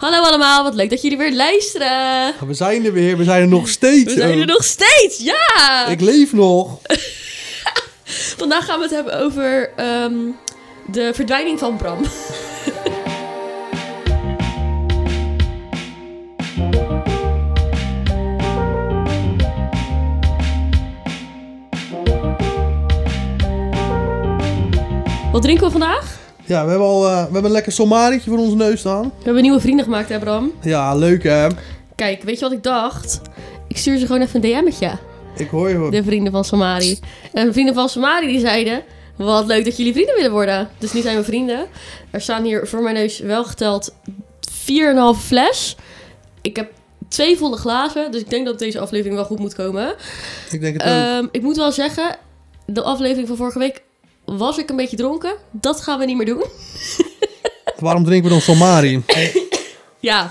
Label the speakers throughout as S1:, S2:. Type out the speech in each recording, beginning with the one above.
S1: Hallo allemaal, wat leuk dat jullie weer luisteren.
S2: We zijn er weer, we zijn er nog steeds.
S1: We zijn er
S2: ook.
S1: nog steeds, ja!
S2: Ik leef nog.
S1: Vandaag gaan we het hebben over ehm, de verdwijning van Bram. Wat drinken we vandaag?
S2: Ja, we hebben al eh, we hebben een lekker sommarietje voor onze neus staan.
S1: We hebben nieuwe vrienden gemaakt, hè Bram?
S2: Ja, leuk hè.
S1: Kijk, weet je wat ik dacht? Ik stuur ze gewoon even een DM'tje.
S2: Ik hoor je hoor.
S1: De vrienden van Samari. En de vrienden van Samari die zeiden... Wat leuk dat jullie vrienden willen worden. Dus nu zijn we vrienden. Er staan hier voor mijn neus wel geteld 4,5 fles. Ik heb twee volle glazen. Dus ik denk dat deze aflevering wel goed moet komen.
S2: Ik denk het ook.
S1: Ehm, ik moet wel zeggen... De aflevering van vorige week was ik een beetje dronken. Dat gaan we niet meer doen.
S2: Waarom drinken we dan sommari?
S1: Ja,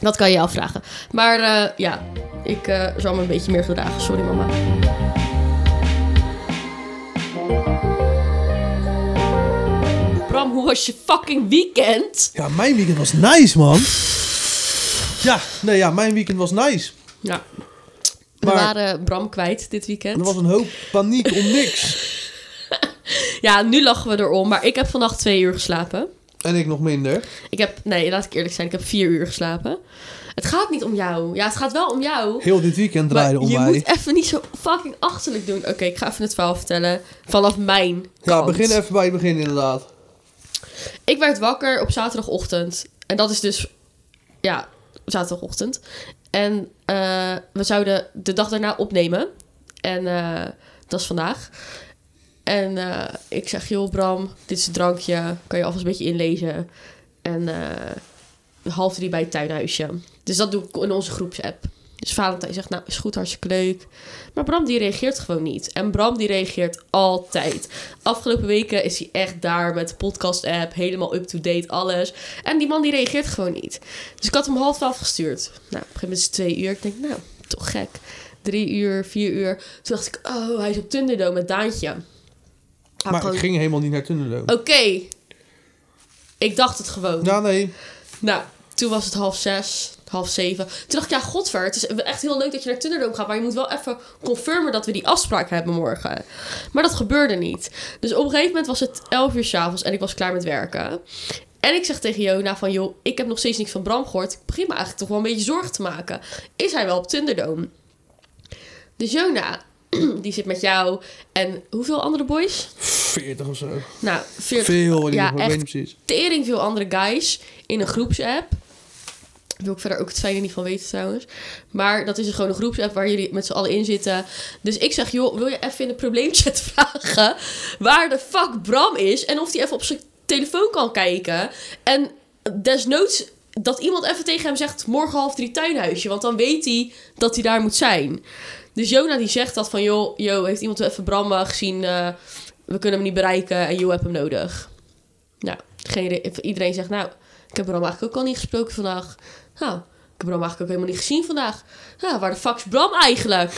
S1: dat kan je je afvragen. Maar eh, ja, ik eh, zal me een beetje meer gedragen. Sorry mama. Bram, hoe was je fucking weekend?
S2: Ja, mijn weekend was nice man. Ja, nee ja, mijn weekend was nice.
S1: Ja. We
S2: Maar-
S1: waren Bram kwijt dit
S2: Er
S1: weekend.
S2: was een hoop paniek om niks.
S1: Ja, nu lachen we erom. Maar ik heb vannacht twee uur geslapen.
S2: En ik nog minder.
S1: Ik heb, nee, laat ik eerlijk zijn. Ik heb vier uur geslapen. Het gaat niet om jou. Ja, het gaat wel om jou.
S2: Heel dit weekend
S1: Maar
S2: draaide om
S1: je
S2: mij.
S1: moet even niet zo fucking achterlijk doen. Oké, ik ga even het verhaal vertellen vanaf mijn
S2: Ja,
S1: kant.
S2: begin even bij het begin inderdaad.
S1: Ik werd wakker op zaterdagochtend. En dat is dus, ja, zaterdagochtend. En eh, we zouden de dag daarna opnemen. En eh, dat is vandaag. En eh, ik zeg, joh Bram, dit is een drankje. Kan je alvast een beetje inlezen. En eh, half drie bij het tuinhuisje. Dus dat doe ik in onze groepsapp. Dus Valentijn zegt, nou, is goed, hartstikke leuk. Maar Bram, die reageert gewoon niet. En Bram, die reageert altijd. Afgelopen weken is hij echt daar met de podcast-app. Helemaal up-to-date, alles. En die man, die reageert gewoon niet. Dus ik had hem half twaalf gestuurd. Nou, op een gegeven moment is het twee uur. Ik denk, nou, toch gek. Drie uur, vier uur. Toen dacht ik, oh, hij is op Thunderdome met Daantje. Hij had
S2: Maar
S1: gewoon-
S2: ik ging helemaal niet naar Tunneloop.
S1: Oké. Ik dacht het gewoon.
S2: Ja, nee.
S1: Nou, toen was het half zes, half zeven. Toen dacht ik, ja, godver, het is echt heel leuk dat je naar Thunderdome gaat... maar je moet wel even confirmen dat we die afspraak hebben morgen. Maar dat gebeurde niet. Dus op een gegeven moment was het elf uur s'avonds en ik was klaar met werken. En ik zeg tegen Jona van, joh, ik heb nog steeds niks van Bram gehoord. Ik begin me eigenlijk toch wel een beetje zorgen te maken. Is hij wel op Thunderdome? Dus Jona, die zit met jou en hoeveel andere boys?
S2: 40 of zo.
S1: Nou, 40.
S2: Veel in ieder
S1: ja,
S2: geval. Ik weet
S1: echt
S2: niet precies.
S1: tering veel andere guys in een groepsapp. Daar wil ik verder ook het fijne niet van weten trouwens. Maar dat is gewoon een groepsapp waar jullie met z'n allen in zitten. Dus ik zeg, joh, wil je even in de probleemchat vragen waar de fuck Bram is? En of hij even op zijn telefoon kan kijken. En desnoods dat iemand even tegen hem zegt, morgen half drie tuinhuisje. Want dan weet hij dat hij daar moet zijn. Dus Jona die zegt dat van, joh, joh heeft iemand even Bram eh, gezien? eh, we kunnen hem niet bereiken en joh, heb hem nodig. Nou, geen re- iedereen zegt, nou, ik heb Bram eigenlijk ook al niet gesproken vandaag. Nou, ik heb Bram eigenlijk ook helemaal niet gezien vandaag. Nou, waar de fuck is Bram eigenlijk?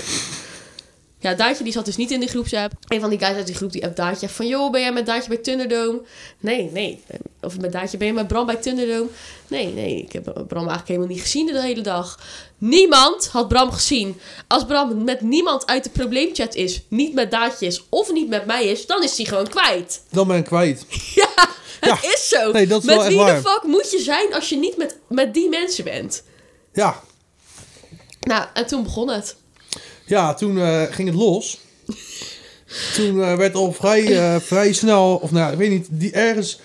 S1: Ja, Daatje die zat dus niet in die groepsapp. Een van die guys uit die groep die app Daatje van... joh, ben jij met Daatje bij Thunderdome? Nee, nee. Of met Daatje, ben je met Bram bij Thunderdome? Nee, nee, ik heb Bram eigenlijk helemaal niet gezien de hele dag. Niemand had Bram gezien. Als Bram met niemand uit de probleemchat is... niet met Daatje is of niet met mij is... dan is hij gewoon kwijt.
S2: Dan ben ik kwijt.
S1: Ja, het
S2: Ja.
S1: is zo.
S2: Nee, dat is
S1: met
S2: wel echt
S1: wie de
S2: waar.
S1: fuck moet je zijn als je niet met, met die mensen bent?
S2: Ja,
S1: Nou, en toen begon het.
S2: Ja, toen eh, ging het los. toen eh, werd al vrij, eh, vrij snel, of nou, ja, ik weet niet, die ergens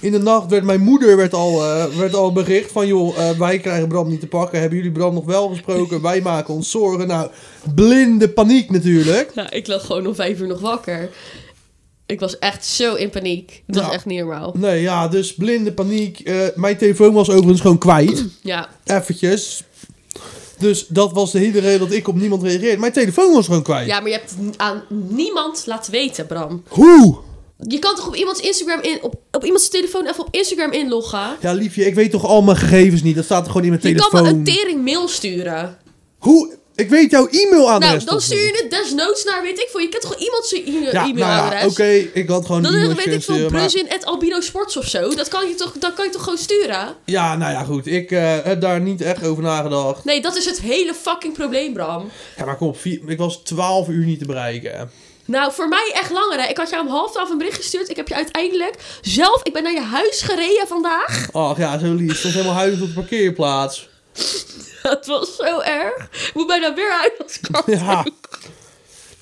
S2: in de nacht werd mijn moeder werd al, eh, werd al bericht van joh, eh, wij krijgen Bram niet te pakken. Hebben jullie Bram nog wel gesproken? wij maken ons zorgen. Nou, blinde paniek natuurlijk.
S1: Nou, ik lag gewoon om vijf uur nog wakker. Ik was echt zo in paniek. Dat was
S2: Ja.
S1: echt niet normaal.
S2: Nee, ja, dus blinde paniek. Eh, mijn telefoon was overigens gewoon kwijt.
S1: Ja,
S2: Eventjes. Dus dat was de hele reden dat ik op niemand reageerde. Mijn telefoon was gewoon kwijt.
S1: ja maar je hebt het aan niemand laten weten, Bram.
S2: Hoe?
S1: Je kan toch op iemands Instagram in, op, op iemands telefoon even op Instagram inloggen?
S2: Ja, liefje, ik weet toch al mijn gegevens niet. Dat staat er gewoon in mijn
S1: Je
S2: telefoon.
S1: kan me een tering mail sturen.
S2: Hoe? Ik weet jouw e-mailadres.
S1: Nou, dan
S2: toch
S1: stuur
S2: niet?
S1: je het desnoods naar, weet ik veel. Je kent toch wel iemand zijn e-
S2: ja, nou
S1: e-mailadres?
S2: ja, Oké, ik had gewoon
S1: Dan
S2: een
S1: is,
S2: e-mailtje
S1: weet ik veel,
S2: sturen, maar-
S1: plus in het albino sports of zo. Dat kan je toch, dat kan je toch gewoon sturen?
S2: Ja, nou ja, goed. Ik eh, heb daar niet echt over nagedacht.
S1: Nee, dat is het hele fucking probleem, Bram.
S2: Ja, maar kom op. Vier, ik was 12 uur niet te bereiken.
S1: Nou, voor mij echt langer, hè. Ik had jou om half twaalf een bericht gestuurd. Ik heb je uiteindelijk zelf... Ik ben naar je huis gereden vandaag.
S2: Ach ja, zo lief. Ik stond helemaal huilen op de parkeerplaats.
S1: Dat was zo erg. Ik moet bijna weer uit als kant.
S2: Ja.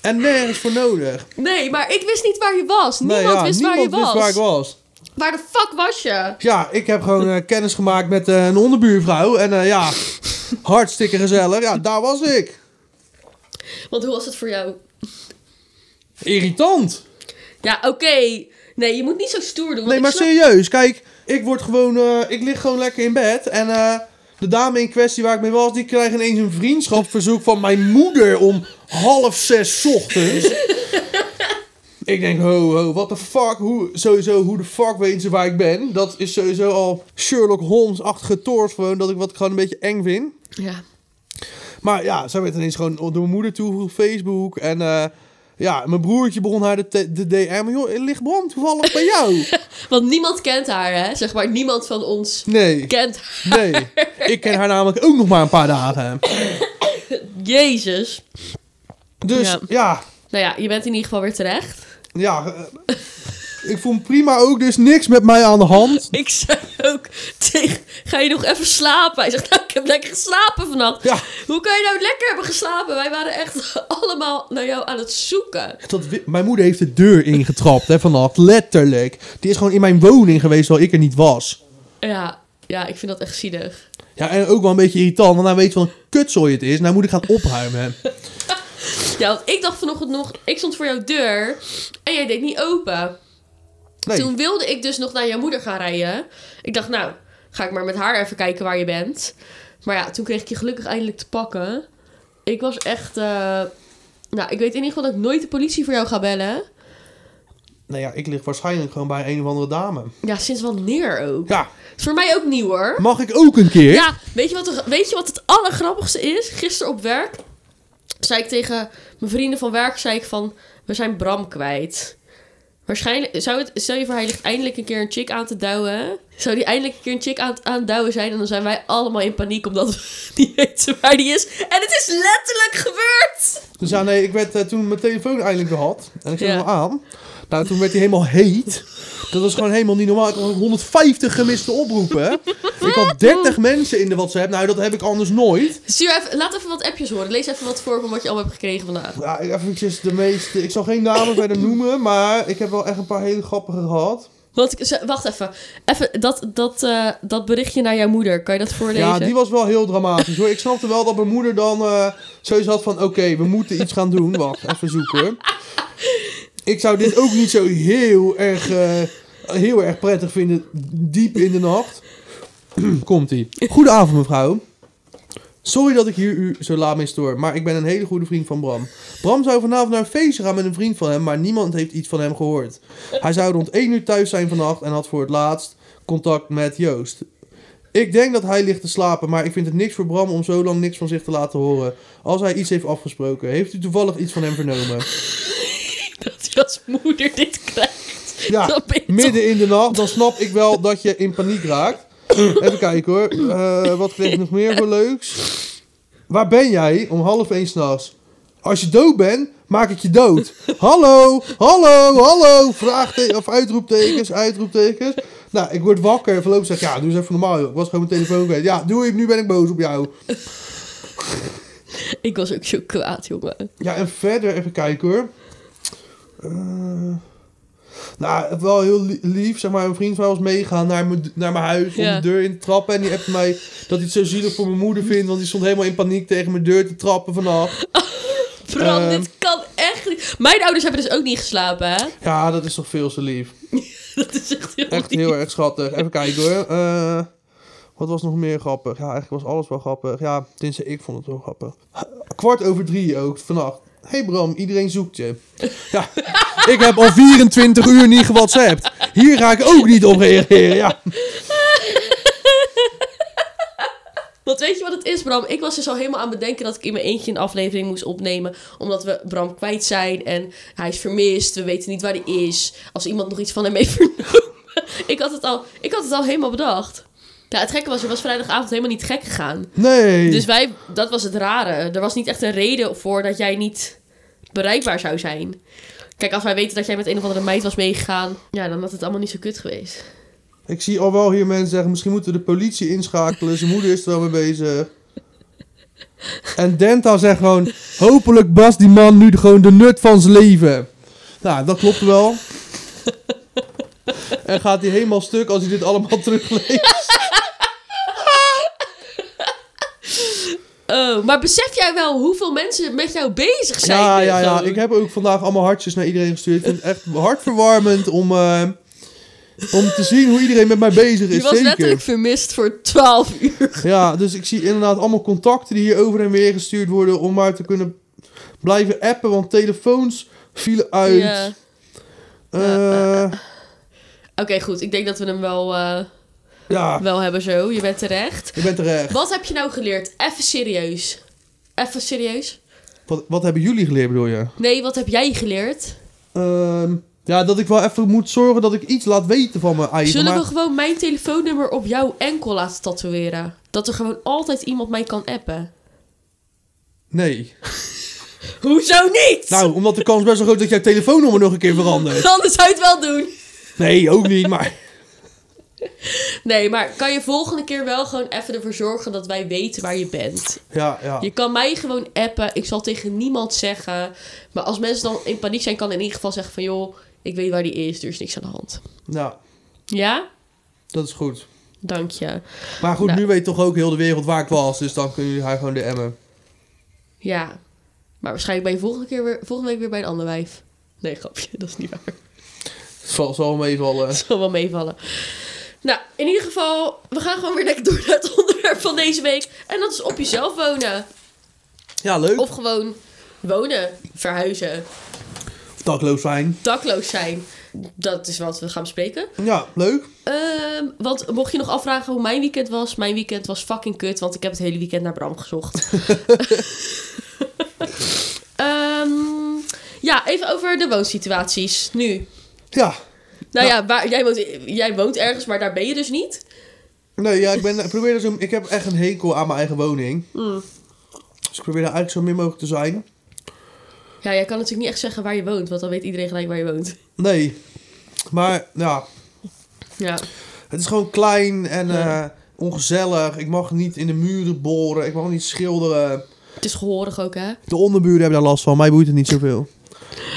S2: En nergens voor nodig.
S1: Nee, maar ik wist niet waar je was.
S2: Nee,
S1: Niemand
S2: ja,
S1: wist waar je
S2: niemand
S1: was.
S2: wist waar ik was.
S1: Waar de fuck was je?
S2: Ja, ik heb gewoon eh, kennis gemaakt met eh, een onderbuurvrouw. En eh, ja, hartstikke gezellig. Ja, daar was ik.
S1: Want hoe was het voor jou?
S2: Irritant.
S1: Ja, oké. Nee, je moet niet zo stoer doen. want
S2: Nee,
S1: ik
S2: maar
S1: snap-
S2: serieus. Kijk, ik word gewoon... eh, ik lig gewoon lekker in bed. En eh, de dame in kwestie waar ik mee was... die krijgt ineens een vriendschapsverzoek van mijn moeder... om half zes 's ochtends. ik denk, ho, ho, what the fuck? Hoe, sowieso, hoe de fuck weten ze waar ik ben? Dat is sowieso al Sherlock Holmes-achtige toorts gewoon... dat ik wat gewoon een beetje eng vind.
S1: Ja.
S2: Maar ja, zij werd ineens gewoon door mijn moeder toe op Facebook. En eh, ja, mijn broertje begon haar de, t- de DM. Joh, ligt Bram toevallig bij jou?
S1: Want niemand kent haar, hè? Zeg maar, niemand van ons
S2: Nee,
S1: kent haar.
S2: nee. Ik ken haar namelijk ook nog maar een paar dagen.
S1: Jezus.
S2: Dus
S1: Ja.
S2: ja, ja,
S1: Nou ja, je bent in ieder geval weer terecht.
S2: eh, ik voel me prima ook. Dus niks met mij aan de hand.
S1: Ik zei ook tegen... Ga je nog even slapen? Hij zegt, nou, ik heb lekker geslapen vannacht.
S2: Ja,
S1: Hoe kan je nou lekker hebben geslapen? Wij waren echt allemaal naar jou aan het zoeken.
S2: dat, wi- mijn moeder heeft de deur ingetrapt hè, vannacht. Letterlijk. Die is gewoon in mijn woning geweest terwijl ik er niet was.
S1: Ja, ja ik vind dat echt zielig.
S2: Ja, en ook wel een beetje irritant. Want hij weet van een kutzooi het is. Nou moet ik gaan opruimen.
S1: Ja, want ik dacht vanochtend nog... Ik stond voor jouw deur en jij deed niet open.
S2: Nee.
S1: Toen wilde ik dus nog naar jouw moeder gaan rijden. Ik dacht, nou, ga ik maar met haar even kijken waar je bent. Maar ja, toen kreeg ik je gelukkig eindelijk te pakken. Ik was echt... eh, Nou, ik weet in ieder geval dat ik nooit de politie voor jou ga bellen.
S2: Nou ja, ik lig waarschijnlijk gewoon bij een of andere dame.
S1: Ja, sinds wanneer ook.
S2: Ja,
S1: Is voor mij ook nieuw hoor.
S2: mag ik ook een keer?
S1: Ja, weet je, wat, er- weet je wat het allergrappigste is? Gisteren op werk zei ik tegen mijn vrienden van werk, zei ik van, we zijn Bram kwijt. Waarschijnlijk, zou het, stel je voor, hij ligt eindelijk een keer een chick aan te douwen. Zou die eindelijk een keer een chick aan, aan het douwen zijn? En dan zijn wij allemaal in paniek omdat we niet weten waar die is. En het is letterlijk gebeurd!
S2: Dus ja, nee, ik werd eh, toen mijn telefoon eindelijk weer had. En ik zet
S1: Ja.
S2: hem aan. Nou, toen werd hij helemaal heet. Dat was gewoon helemaal niet normaal. Ik had 150 gemiste oproepen. hè. Ik had 30 mensen in de WhatsApp. Nou, dat heb ik anders nooit.
S1: Stuur even, laat even wat appjes horen. Lees even wat voor van wat je allemaal hebt gekregen vandaag.
S2: Ja, eventjes de meeste... Ik zal geen namen verder noemen, maar ik heb wel echt een paar hele grappige gehad.
S1: Want, ik- ze- wacht even. Even dat, dat, eh, dat berichtje naar jouw moeder. Kan je dat voorlezen?
S2: Ja, die was wel heel dramatisch hoor. Ik snapte wel dat mijn moeder dan eh sowieso had van... Oké, we moeten iets gaan doen. Wacht, even zoeken. Ik zou dit ook niet zo heel erg, eh, heel erg prettig vinden diep in de nacht. Komt-ie. Goedenavond mevrouw. Sorry dat ik hier u zo laat mee stoor, maar ik ben een hele goede vriend van Bram. Bram zou vanavond naar een feestje gaan met een vriend van hem, maar niemand heeft iets van hem gehoord. Hij zou rond 1 uur thuis zijn vannacht en had voor het laatst contact met Joost. Ik denk dat hij ligt te slapen, maar ik vind het niks voor Bram om zo lang niks van zich te laten horen. Als hij iets heeft afgesproken, heeft u toevallig iets van hem vernomen?
S1: dat je als moeder dit krijgt.
S2: Ja,
S1: dat ben je toch-
S2: midden in de nacht, dan snap ik wel dat je in paniek raakt. Even kijken hoor. Eh, wat kreeg ik nog meer voor leuks? Waar ben jij om half één s'nachts? Als je dood bent, maak ik je dood. Hallo, hallo, hallo. Vraagtekens, of uitroeptekens, uitroeptekens. Nou, ik word wakker. Voorlopig zeg ik, ja, doe eens even normaal joh. Ik was gewoon mijn telefoon kwijt. Ja, doe je, nu ben ik boos op jou.
S1: Ik was ook zo kwaad, jongen.
S2: Ja, en verder even kijken hoor. Eh, nou, wel heel li- lief. Zeg maar, een vriend van mij was meegaan naar mijn, naar mijn huis om
S1: Ja.
S2: de deur in te trappen. En die heeft mij dat hij het zo zielig voor mijn moeder vindt. Want die stond helemaal in paniek tegen mijn deur te trappen vanaf.
S1: Bram,
S2: Ehm.
S1: dit kan echt niet. Mijn ouders hebben dus ook niet geslapen, hè?
S2: Ja, dat is toch veel te lief.
S1: Dat is echt heel
S2: Echt
S1: lief.
S2: heel erg schattig. Even kijken hoor. Eh, wat was nog meer grappig? Ja, eigenlijk was alles wel grappig. Ja, tenminste, ik vond het wel grappig. Kwart over drie ook, vannacht. hey Bram, iedereen zoekt je. Ja, ik heb al 24 uur niet gewhatsappt. Hier ga ik ook niet op reageren, ja.
S1: Want weet je wat het is, Bram? Ik was dus al helemaal aan het bedenken dat ik in mijn eentje een aflevering moest opnemen. Omdat we Bram kwijt zijn en hij is vermist. We weten niet waar hij is. Als iemand nog iets van hem heeft vernomen. ik, had het al, ik had het al helemaal bedacht. Ja, het gekke was, er was vrijdagavond helemaal niet gek gegaan.
S2: Nee.
S1: Dus wij, dat was het rare. Er was niet echt een reden voor dat jij niet bereikbaar zou zijn. Kijk, als wij weten dat jij met een of andere meid was meegegaan, ja, dan had het allemaal niet zo kut geweest.
S2: Ik zie al wel hier mensen zeggen, misschien moeten we de politie inschakelen. Zijn moeder is er al mee bezig. En Denta zegt gewoon, hopelijk Bas die man nu gewoon de nut van zijn leven. Nou, dat klopt wel. En gaat hij helemaal stuk als hij dit allemaal terugleest.
S1: Oh, maar besef jij wel hoeveel mensen met jou bezig zijn?
S2: Ja,
S1: nu
S2: ja, ja.
S1: gewoon?
S2: Ik heb ook vandaag allemaal hartjes naar iedereen gestuurd. Ik vind het echt hartverwarmend om, eh, om te zien hoe iedereen met mij bezig is.
S1: Je was
S2: Zeker.
S1: letterlijk vermist voor 12 uur.
S2: Ja, dus ik zie inderdaad allemaal contacten die hier over en weer gestuurd worden om maar te kunnen blijven appen, want telefoons vielen uit.
S1: Ja.
S2: Eh,
S1: Ja, Oké, goed. Ik denk dat we hem wel, eh,
S2: ja,
S1: wel hebben zo. Je bent terecht.
S2: je bent terecht.
S1: Wat heb je nou geleerd? Even serieus. Even serieus.
S2: Wat, wat hebben jullie geleerd, bedoel je?
S1: Nee, wat heb jij geleerd?
S2: Ehm, ja, dat ik wel even moet zorgen dat ik iets laat weten van mijn eigen.
S1: Zullen
S2: maar-
S1: we gewoon mijn telefoonnummer op jouw enkel laten tatoeëren? Dat er gewoon altijd iemand mij kan appen.
S2: Nee.
S1: Hoezo niet?
S2: Nou, omdat de kans best wel groot is dat jouw telefoonnummer nog een keer verandert.
S1: Anders zou je het wel doen.
S2: Nee, ook niet, maar...
S1: Nee, maar kan je volgende keer wel gewoon even ervoor zorgen dat wij weten waar je bent?
S2: Ja, ja.
S1: Je kan mij gewoon appen. Ik zal tegen niemand zeggen. Maar als mensen dan in paniek zijn, kan ik in ieder geval zeggen van... joh, ik weet waar die is. Er is niks aan de hand.
S2: Nou,
S1: Ja?
S2: dat is goed.
S1: Dank je.
S2: Maar goed,
S1: Nou.
S2: nu weet toch ook heel de wereld waar ik was, dus dan kunnen jullie haar gewoon DM'en.
S1: Ja. Maar waarschijnlijk ben je volgende, keer weer, volgende week weer bij een ander wijf. Nee, grapje. Dat is niet waar.
S2: Zal, zal meevallen.
S1: Het zal wel meevallen. Nou, in ieder geval, we gaan gewoon weer lekker door naar het onderwerp van deze week. En dat is op jezelf wonen.
S2: Ja, leuk.
S1: Of gewoon wonen, verhuizen,
S2: dakloos zijn.
S1: dakloos zijn. Dat is wat we gaan bespreken.
S2: Ja, leuk.
S1: Ehm, want mocht je nog afvragen hoe mijn weekend was, mijn weekend was fucking kut, want ik heb het hele weekend naar Bram gezocht. Ehm, ja, even over de woonsituaties nu.
S2: Ja.
S1: Nou
S2: Nou.
S1: ja, waar, jij, woont, jij woont ergens, maar daar ben je dus niet.
S2: Nee, ja, ik, ben, ik probeer er zo, ik heb echt een hekel aan mijn eigen woning.
S1: Mm.
S2: Dus ik probeer daar eigenlijk zo min mogelijk te zijn.
S1: Ja, jij kan natuurlijk niet echt zeggen waar je woont, want dan weet iedereen gelijk waar je woont.
S2: Nee. Maar ja,
S1: Ja.
S2: het is gewoon klein en
S1: Ja.
S2: eh, ongezellig. Ik mag niet in de muren boren. Ik mag niet schilderen.
S1: Het is gehoorig ook, hè?
S2: De onderburen hebben daar last van. Mij boeit het niet zoveel.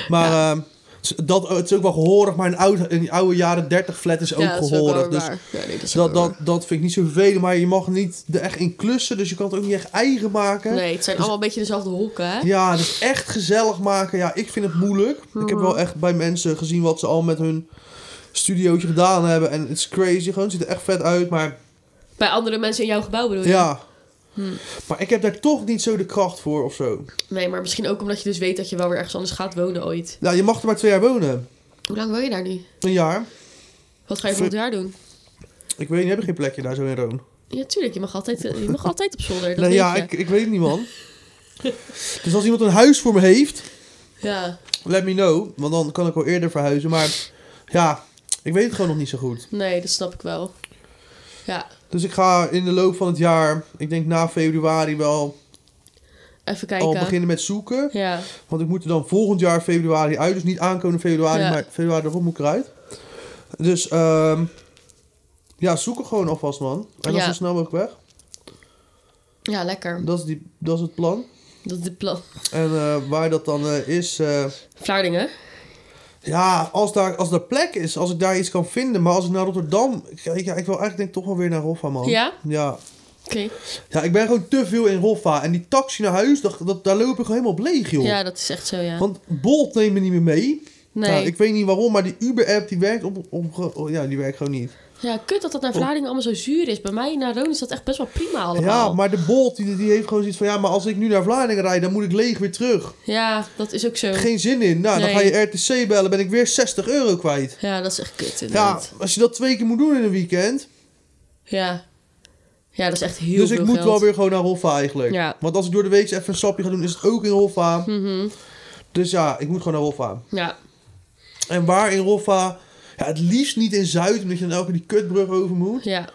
S2: Maar eh, het is- dat, het is ook wel gehoorig. Maar een oude, een oude jaren 30 flat is ook
S1: ja, dat is ook
S2: gehoorig.
S1: wel
S2: dus
S1: waar. Ja, nee, dat is
S2: dat,
S1: ook wel
S2: dat, dat vind ik niet zo vervelend. Maar je mag niet er echt in klussen. Dus je kan het ook niet echt eigen maken.
S1: waar. Nee, het zijn allemaal een beetje dezelfde hokken, hè?
S2: Dus- Ja, dus echt gezellig maken. Ja, ik vind het moeilijk. Ik heb
S1: Oh.
S2: wel echt bij mensen gezien wat ze al met hun studiootje gedaan hebben. En het is crazy. Gewoon, het ziet er echt vet uit. Maar
S1: Bij andere mensen in jouw gebouw bedoel je?
S2: ja.
S1: Hm.
S2: Maar ik heb daar toch niet zo de kracht voor of zo.
S1: Nee, maar misschien ook omdat je dus weet dat je wel weer ergens anders gaat wonen ooit.
S2: Ja, je mag er maar twee jaar wonen.
S1: Hoe lang woon je daar nu?
S2: Een jaar.
S1: Wat ga je
S2: Ver-
S1: volgend jaar doen?
S2: Ik weet niet, heb ik geen plekje daar zo in Roon?
S1: Ja, tuurlijk. Je mag altijd, eh, je mag altijd op zolder. Dat
S2: Nee,
S1: weet
S2: ja,
S1: je.
S2: ik, ik weet het niet, man. dus als iemand een huis voor me heeft,
S1: Ja.
S2: let me know. Want dan kan ik al eerder verhuizen. Maar ja, ik weet het gewoon nog niet zo goed.
S1: Nee, dat snap ik wel. Ja.
S2: Dus ik ga in de loop van het jaar, ik denk na februari wel,
S1: Even kijken.
S2: al beginnen met zoeken.
S1: Ja.
S2: Want ik moet er dan volgend jaar februari uit. Dus niet aankomende februari,
S1: Ja.
S2: maar februari erop moet ik eruit. Dus ehm ja, zoeken gewoon alvast, man. En dan
S1: Ja.
S2: zo snel mogelijk weg.
S1: Ja, lekker.
S2: Dat is, die, dat is het plan.
S1: Dat is de plan.
S2: En eh, waar dat dan eh, is... eh,
S1: Vlaardingen.
S2: ja, als daar, als daar plek is, als ik daar iets kan vinden. Maar als ik naar Rotterdam... Ik, ik, ja, ik wil eigenlijk denk ik toch wel weer naar Roffa, man.
S1: Ja?
S2: Ja.
S1: Oké.
S2: Ja, ik ben gewoon te veel in Roffa. En die taxi naar huis, dat, dat, daar loop ik gewoon helemaal op leeg, joh.
S1: Ja, dat is echt zo, ja.
S2: Want Bolt neemt me niet meer mee.
S1: Nee.
S2: Nou, ik weet niet waarom, maar die Uber-app die werkt op, op, op- Ja, die werkt gewoon niet.
S1: Ja, kut dat dat naar Vlaardingen allemaal zo zuur is. Bij mij naar Roon is dat echt best wel prima allemaal.
S2: Oh. Ja, maar de Bolt die, die heeft gewoon zoiets van... Ja, maar als ik nu naar Vlaardingen rijd, dan moet ik leeg weer terug.
S1: Ja, dat is ook zo.
S2: Geen zin in. Nou, dan ga
S1: Nee.
S2: je RTC bellen, ben ik weer 60 euro kwijt.
S1: Ja, dat is echt kut
S2: Ja,
S1: inderdaad.
S2: als je dat twee keer moet doen in een weekend...
S1: Ja. Ja, dat is echt heel
S2: Dus
S1: veel
S2: ik moet
S1: geld.
S2: wel weer gewoon naar Hoffa eigenlijk.
S1: Ja.
S2: Want als ik door de week even een sapje ga doen, is het ook in Hoffa.
S1: Mhm.
S2: Dus ja, ik moet gewoon naar Hoffa.
S1: Ja,
S2: En waar in Hoffa? Ja, het liefst niet in Zuid, omdat je dan elke keer die kutbrug over moet.
S1: ja.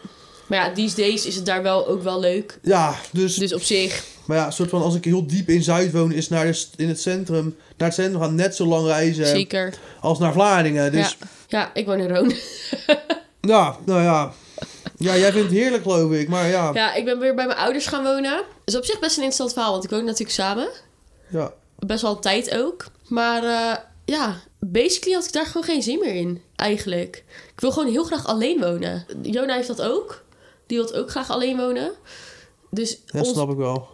S1: Maar ja, these days is het daar wel ook wel leuk.
S2: Ja, dus,
S1: Dus op zich,
S2: maar ja, soort van als ik heel diep in Zuid woon, is naar de, st- in het centrum, naar het centrum gaan net zo lang reizen
S1: zeker.
S2: als naar Vlaardingen. Dus
S1: Ja. ja, ik woon in Roon.
S2: Ja, nou ja. Ja, jij vindt het heerlijk, geloof ik. Maar ja, ja.
S1: Ja, ik ben weer bij mijn ouders gaan wonen. Dat is op zich best een interessant verhaal, want ik woon natuurlijk samen. Best wel een tijd ook. Maar eh, ja, basically had ik daar gewoon geen zin meer in, eigenlijk. Ik wil gewoon heel graag alleen wonen. Jona heeft dat ook. Die wil ook graag alleen wonen. Dus
S2: dat
S1: ons-
S2: snap ik wel.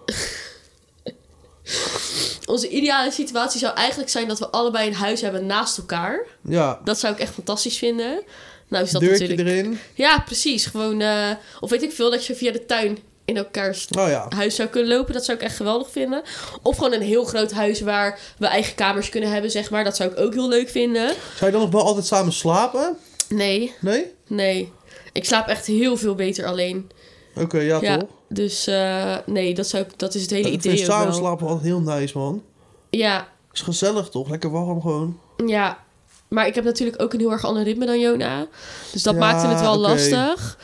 S1: onze ideale situatie zou eigenlijk zijn dat we allebei een huis hebben naast elkaar.
S2: Ja,
S1: Dat zou ik echt fantastisch vinden. Nou is dat
S2: deurtje
S1: natuurlijk...
S2: erin.
S1: Ja, precies. Gewoon, eh, of weet ik veel, dat je via de tuin in elkaars
S2: Oh ja.
S1: huis zou kunnen lopen. Dat zou ik echt geweldig vinden. Of gewoon een heel groot huis waar we eigen kamers kunnen hebben, zeg maar. Dat zou ik ook heel leuk vinden.
S2: Zou je dan nog wel altijd samen slapen?
S1: Nee,
S2: Nee?
S1: nee. Ik slaap echt heel veel beter alleen.
S2: Oké, ja,
S1: Ja,
S2: toch?
S1: dus eh, nee, dat, zou ik, dat is het hele
S2: ik
S1: idee
S2: vind
S1: ook
S2: samen
S1: wel.
S2: slapen altijd heel nice, man.
S1: Ja,
S2: Is gezellig, toch? Lekker warm gewoon.
S1: Ja, maar ik heb natuurlijk ook een heel erg ander ritme dan Jona. Dus dat
S2: Ja,
S1: maakte het wel
S2: oké.
S1: lastig.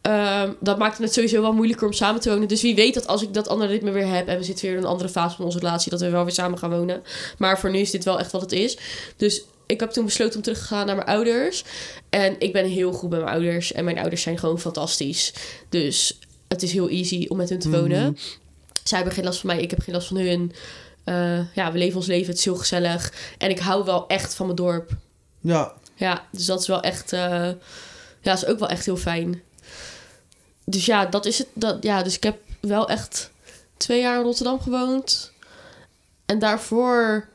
S1: Ehm, dat maakte het sowieso wel moeilijker om samen te wonen. Dus wie weet dat als ik dat andere ritme weer heb... en we zitten weer in een andere fase van onze relatie... dat we wel weer samen gaan wonen. Maar voor nu is dit wel echt wat het is. Dus ik heb toen besloten om terug te gaan naar mijn ouders. En ik ben heel goed bij mijn ouders. En mijn ouders zijn gewoon fantastisch. Dus het is heel easy om met hun te wonen.
S2: Mhm.
S1: Zij hebben geen last van mij, ik heb geen last van hun. Eh, ja, we leven ons leven, het is heel gezellig. En ik hou wel echt van mijn dorp.
S2: Ja,
S1: Ja, dus dat is wel echt... eh, ja, is ook wel echt heel fijn. Dus ja, dat is het. Dat, ja, dus ik heb wel echt twee jaar in Rotterdam gewoond. En daarvoor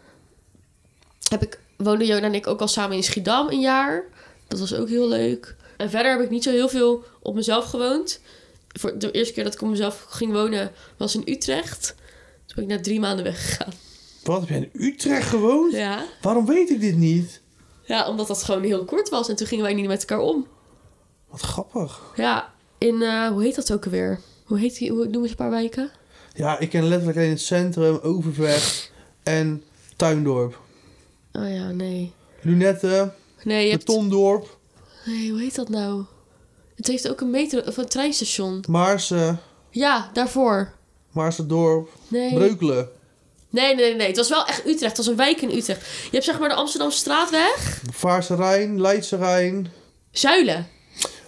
S1: heb ik, woonde Jona en ik ook al samen in Schiedam een jaar. Dat was ook heel leuk. En verder heb ik niet zo heel veel op mezelf gewoond. Voor de eerste keer dat ik op mezelf ging wonen was in Utrecht. Toen ben ik na drie maanden weggegaan.
S2: wat heb jij in Utrecht gewoond?
S1: Ja.
S2: Waarom weet ik dit niet?
S1: ja, omdat dat gewoon heel kort was. En toen gingen wij niet met elkaar om.
S2: Wat grappig.
S1: Ja, in, eh, hoe heet dat ook alweer? Hoe heet die, hoe noemen ze een paar wijken?
S2: Ja, ik ken letterlijk alleen het centrum, Overvecht en Tuindorp.
S1: Oh ja, nee.
S2: Lunette,
S1: Nee, je hebt,
S2: Betondorp,
S1: nee hoe heet dat nou? Het heeft ook een metro, of een treinstation.
S2: Maarsen,
S1: Ja, daarvoor.
S2: Maarsendorp,
S1: Nee.
S2: Breukelen.
S1: Nee, nee, nee. Het was wel echt Utrecht. Het was een wijk in Utrecht. Je hebt zeg maar de Amsterdamse straatweg.
S2: Vaarse Rijn, Leidse Rijn.
S1: Zuilen.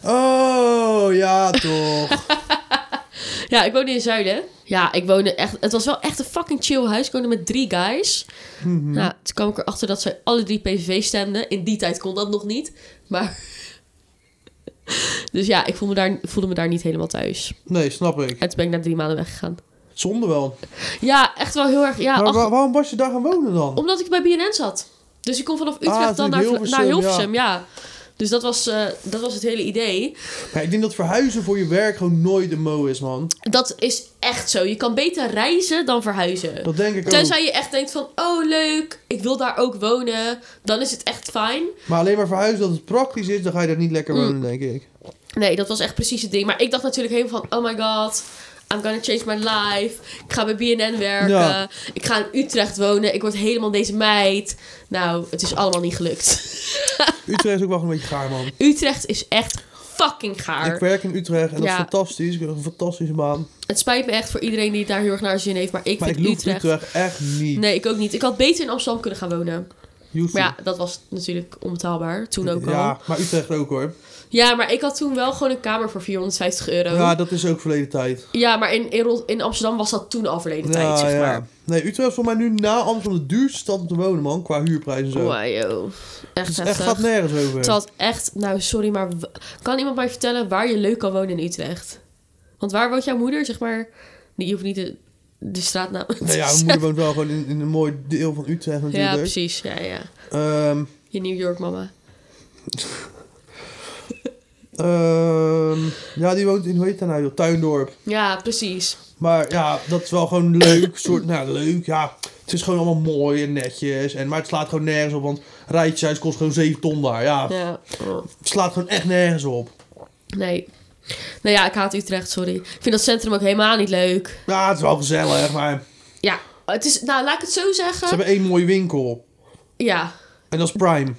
S2: Oh, ja toch.
S1: Ja, ik woonde in Zuilen. Ja, ik woonde echt... Het was wel echt een fucking chill huis. Ik woonde met drie guys.
S2: Mhm.
S1: Nou, toen kwam ik erachter dat zij alle drie PVV stemden. In die tijd kon dat nog niet. Maar... Dus ja, ik voelde me daar, voelde me daar niet helemaal thuis.
S2: Nee, snap ik.
S1: En toen ben ik na drie maanden weggegaan.
S2: Zonde wel.
S1: Ja, echt wel heel erg... Ja,
S2: maar
S1: ach-
S2: wa- waarom was je daar gaan wonen dan?
S1: omdat ik bij BNN zat. Dus ik kon vanaf Utrecht
S2: Ah,
S1: dan naar Vla-
S2: Hilversum,
S1: naar Hilversum, ja. Dus dat was, eh, dat was het hele idee.
S2: Ja, ik denk dat verhuizen voor je werk gewoon nooit een mo is, man.
S1: Dat is echt zo. Je kan beter reizen dan verhuizen.
S2: Dat denk ik ook.
S1: Tenzij je echt denkt van, oh leuk, ik wil daar ook wonen. Dan is het echt fijn.
S2: Maar alleen maar verhuizen dat het praktisch is, dan ga je daar niet lekker
S1: Mm.
S2: wonen, denk ik.
S1: Nee, dat was echt precies het ding. Maar ik dacht natuurlijk helemaal van, oh my god, I'm gonna change my life. Ik ga bij BNN werken.
S2: Ja.
S1: Ik ga in Utrecht wonen. Ik word helemaal deze meid. Nou, het is allemaal niet gelukt.
S2: Utrecht is ook wel een beetje gaar, man.
S1: Utrecht is echt fucking gaar.
S2: Ik werk in Utrecht en dat
S1: Ja.
S2: is fantastisch. Ik heb een fantastische baan.
S1: Het spijt me echt voor iedereen die het daar heel erg naar zin heeft. Maar ik
S2: Maar ik
S1: vind
S2: loef
S1: Utrecht...
S2: Utrecht. echt niet.
S1: Nee, ik ook niet. Ik had beter in Amsterdam kunnen gaan wonen.
S2: Hoeft
S1: Maar
S2: niet.
S1: ja, dat was natuurlijk onbetaalbaar. Toen ook al.
S2: ja, maar Utrecht ook hoor.
S1: Ja, maar ik had toen wel gewoon een kamer voor 450 euro.
S2: Ja,
S1: Ja,
S2: dat is ook verleden tijd.
S1: maar in, in, Rot- in Amsterdam was dat toen al verleden tijd,
S2: Ja,
S1: zeg
S2: ja.
S1: maar.
S2: Nee, Utrecht is voor mij nu na Amsterdam de duurste stad om te wonen, man. Qua huurprijs en zo.
S1: Oh, joh. Echt
S2: Dus echt
S1: heftig.
S2: gaat nergens over.
S1: Het had echt... Nou, sorry, maar... w- Kan iemand mij vertellen waar je leuk kan wonen in Utrecht? Want waar woont jouw moeder, zeg maar? Nee, je hoeft niet de, de straatnaam te
S2: Nou ja, mijn
S1: zeggen.
S2: moeder woont wel gewoon in, in een mooi deel van Utrecht
S1: Ja,
S2: natuurlijk.
S1: precies. Ja, ja.
S2: Ehm,
S1: Je New York mama.
S2: ehm, ja, die woont in, hoe heet dat nou, joh? Tuindorp.
S1: Ja, precies.
S2: Maar ja, dat is wel gewoon leuk. soort, nou, leuk, ja. Het is gewoon allemaal mooi en netjes. En, maar het slaat gewoon nergens op, want rijtjeshuis kost gewoon 7 ton daar. Ja,
S1: Ja. Oh,
S2: het slaat gewoon echt nergens op.
S1: Nee. Nou ja, ik haat Utrecht, sorry. Ik vind dat centrum ook helemaal niet leuk.
S2: Ja, het is wel gezellig, maar
S1: Ja, het is, nou laat ik het zo
S2: ze
S1: zeggen.
S2: hebben één mooie winkel.
S1: Ja,
S2: En dat is Prime.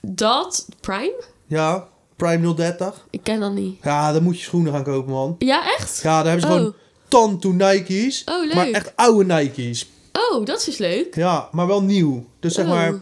S1: dat. Prime?
S2: Ja, Prime 030.
S1: Ik ken dat niet.
S2: Ja, dan moet je schoenen gaan kopen, man.
S1: Ja, echt?
S2: Ja, daar hebben ze
S1: Oh.
S2: gewoon tantoe Nike's.
S1: Oh, leuk.
S2: Maar echt oude Nike's.
S1: Oh, dat is leuk.
S2: Ja, maar wel nieuw. Dus zeg
S1: Oh.
S2: maar...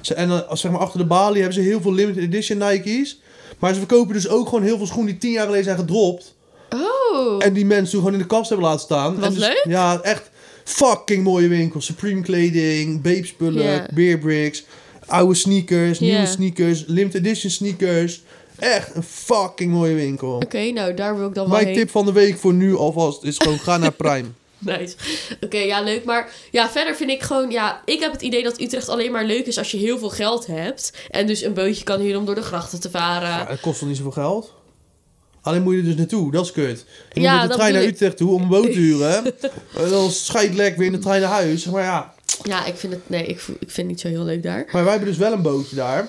S2: Ze, en dan, zeg maar achter de balie hebben ze heel veel limited edition Nike's. Maar ze verkopen dus ook gewoon heel veel schoenen die tien jaar geleden zijn gedropt.
S1: Oh.
S2: En die mensen toen gewoon in de kast hebben laten staan.
S1: Wat
S2: En dus-
S1: leuk.
S2: Ja, echt fucking mooie winkels. Supreme kleding, babe spullen,
S1: Ja.
S2: beer bricks, oude sneakers,
S1: Ja.
S2: nieuwe sneakers, limited edition sneakers. Echt een fucking mooie winkel.
S1: Oké, nou daar wil ik dan wel
S2: Mijn
S1: heen.
S2: tip van de week voor nu alvast is gewoon ga naar Prime.
S1: Nice. Oké, ja, leuk. Maar ja, verder vind ik gewoon... Ja, ik heb het idee dat Utrecht alleen maar leuk is als je heel veel geld hebt. En dus een bootje kan huren om door de grachten te
S2: Ja,
S1: varen.
S2: het kost wel niet zoveel geld. Alleen moet je er dus naartoe, dat is kut. Je
S1: Ja,
S2: moet met de
S1: dat
S2: trein naar
S1: bedoel ik.
S2: Utrecht toe om een boot te huren. En dan scheidlek weer in de trein naar huis. Zeg Maar ja,
S1: Ja, ik vind het... Nee, ik, vo- ik vind het niet zo heel leuk daar.
S2: maar wij hebben dus wel een bootje daar.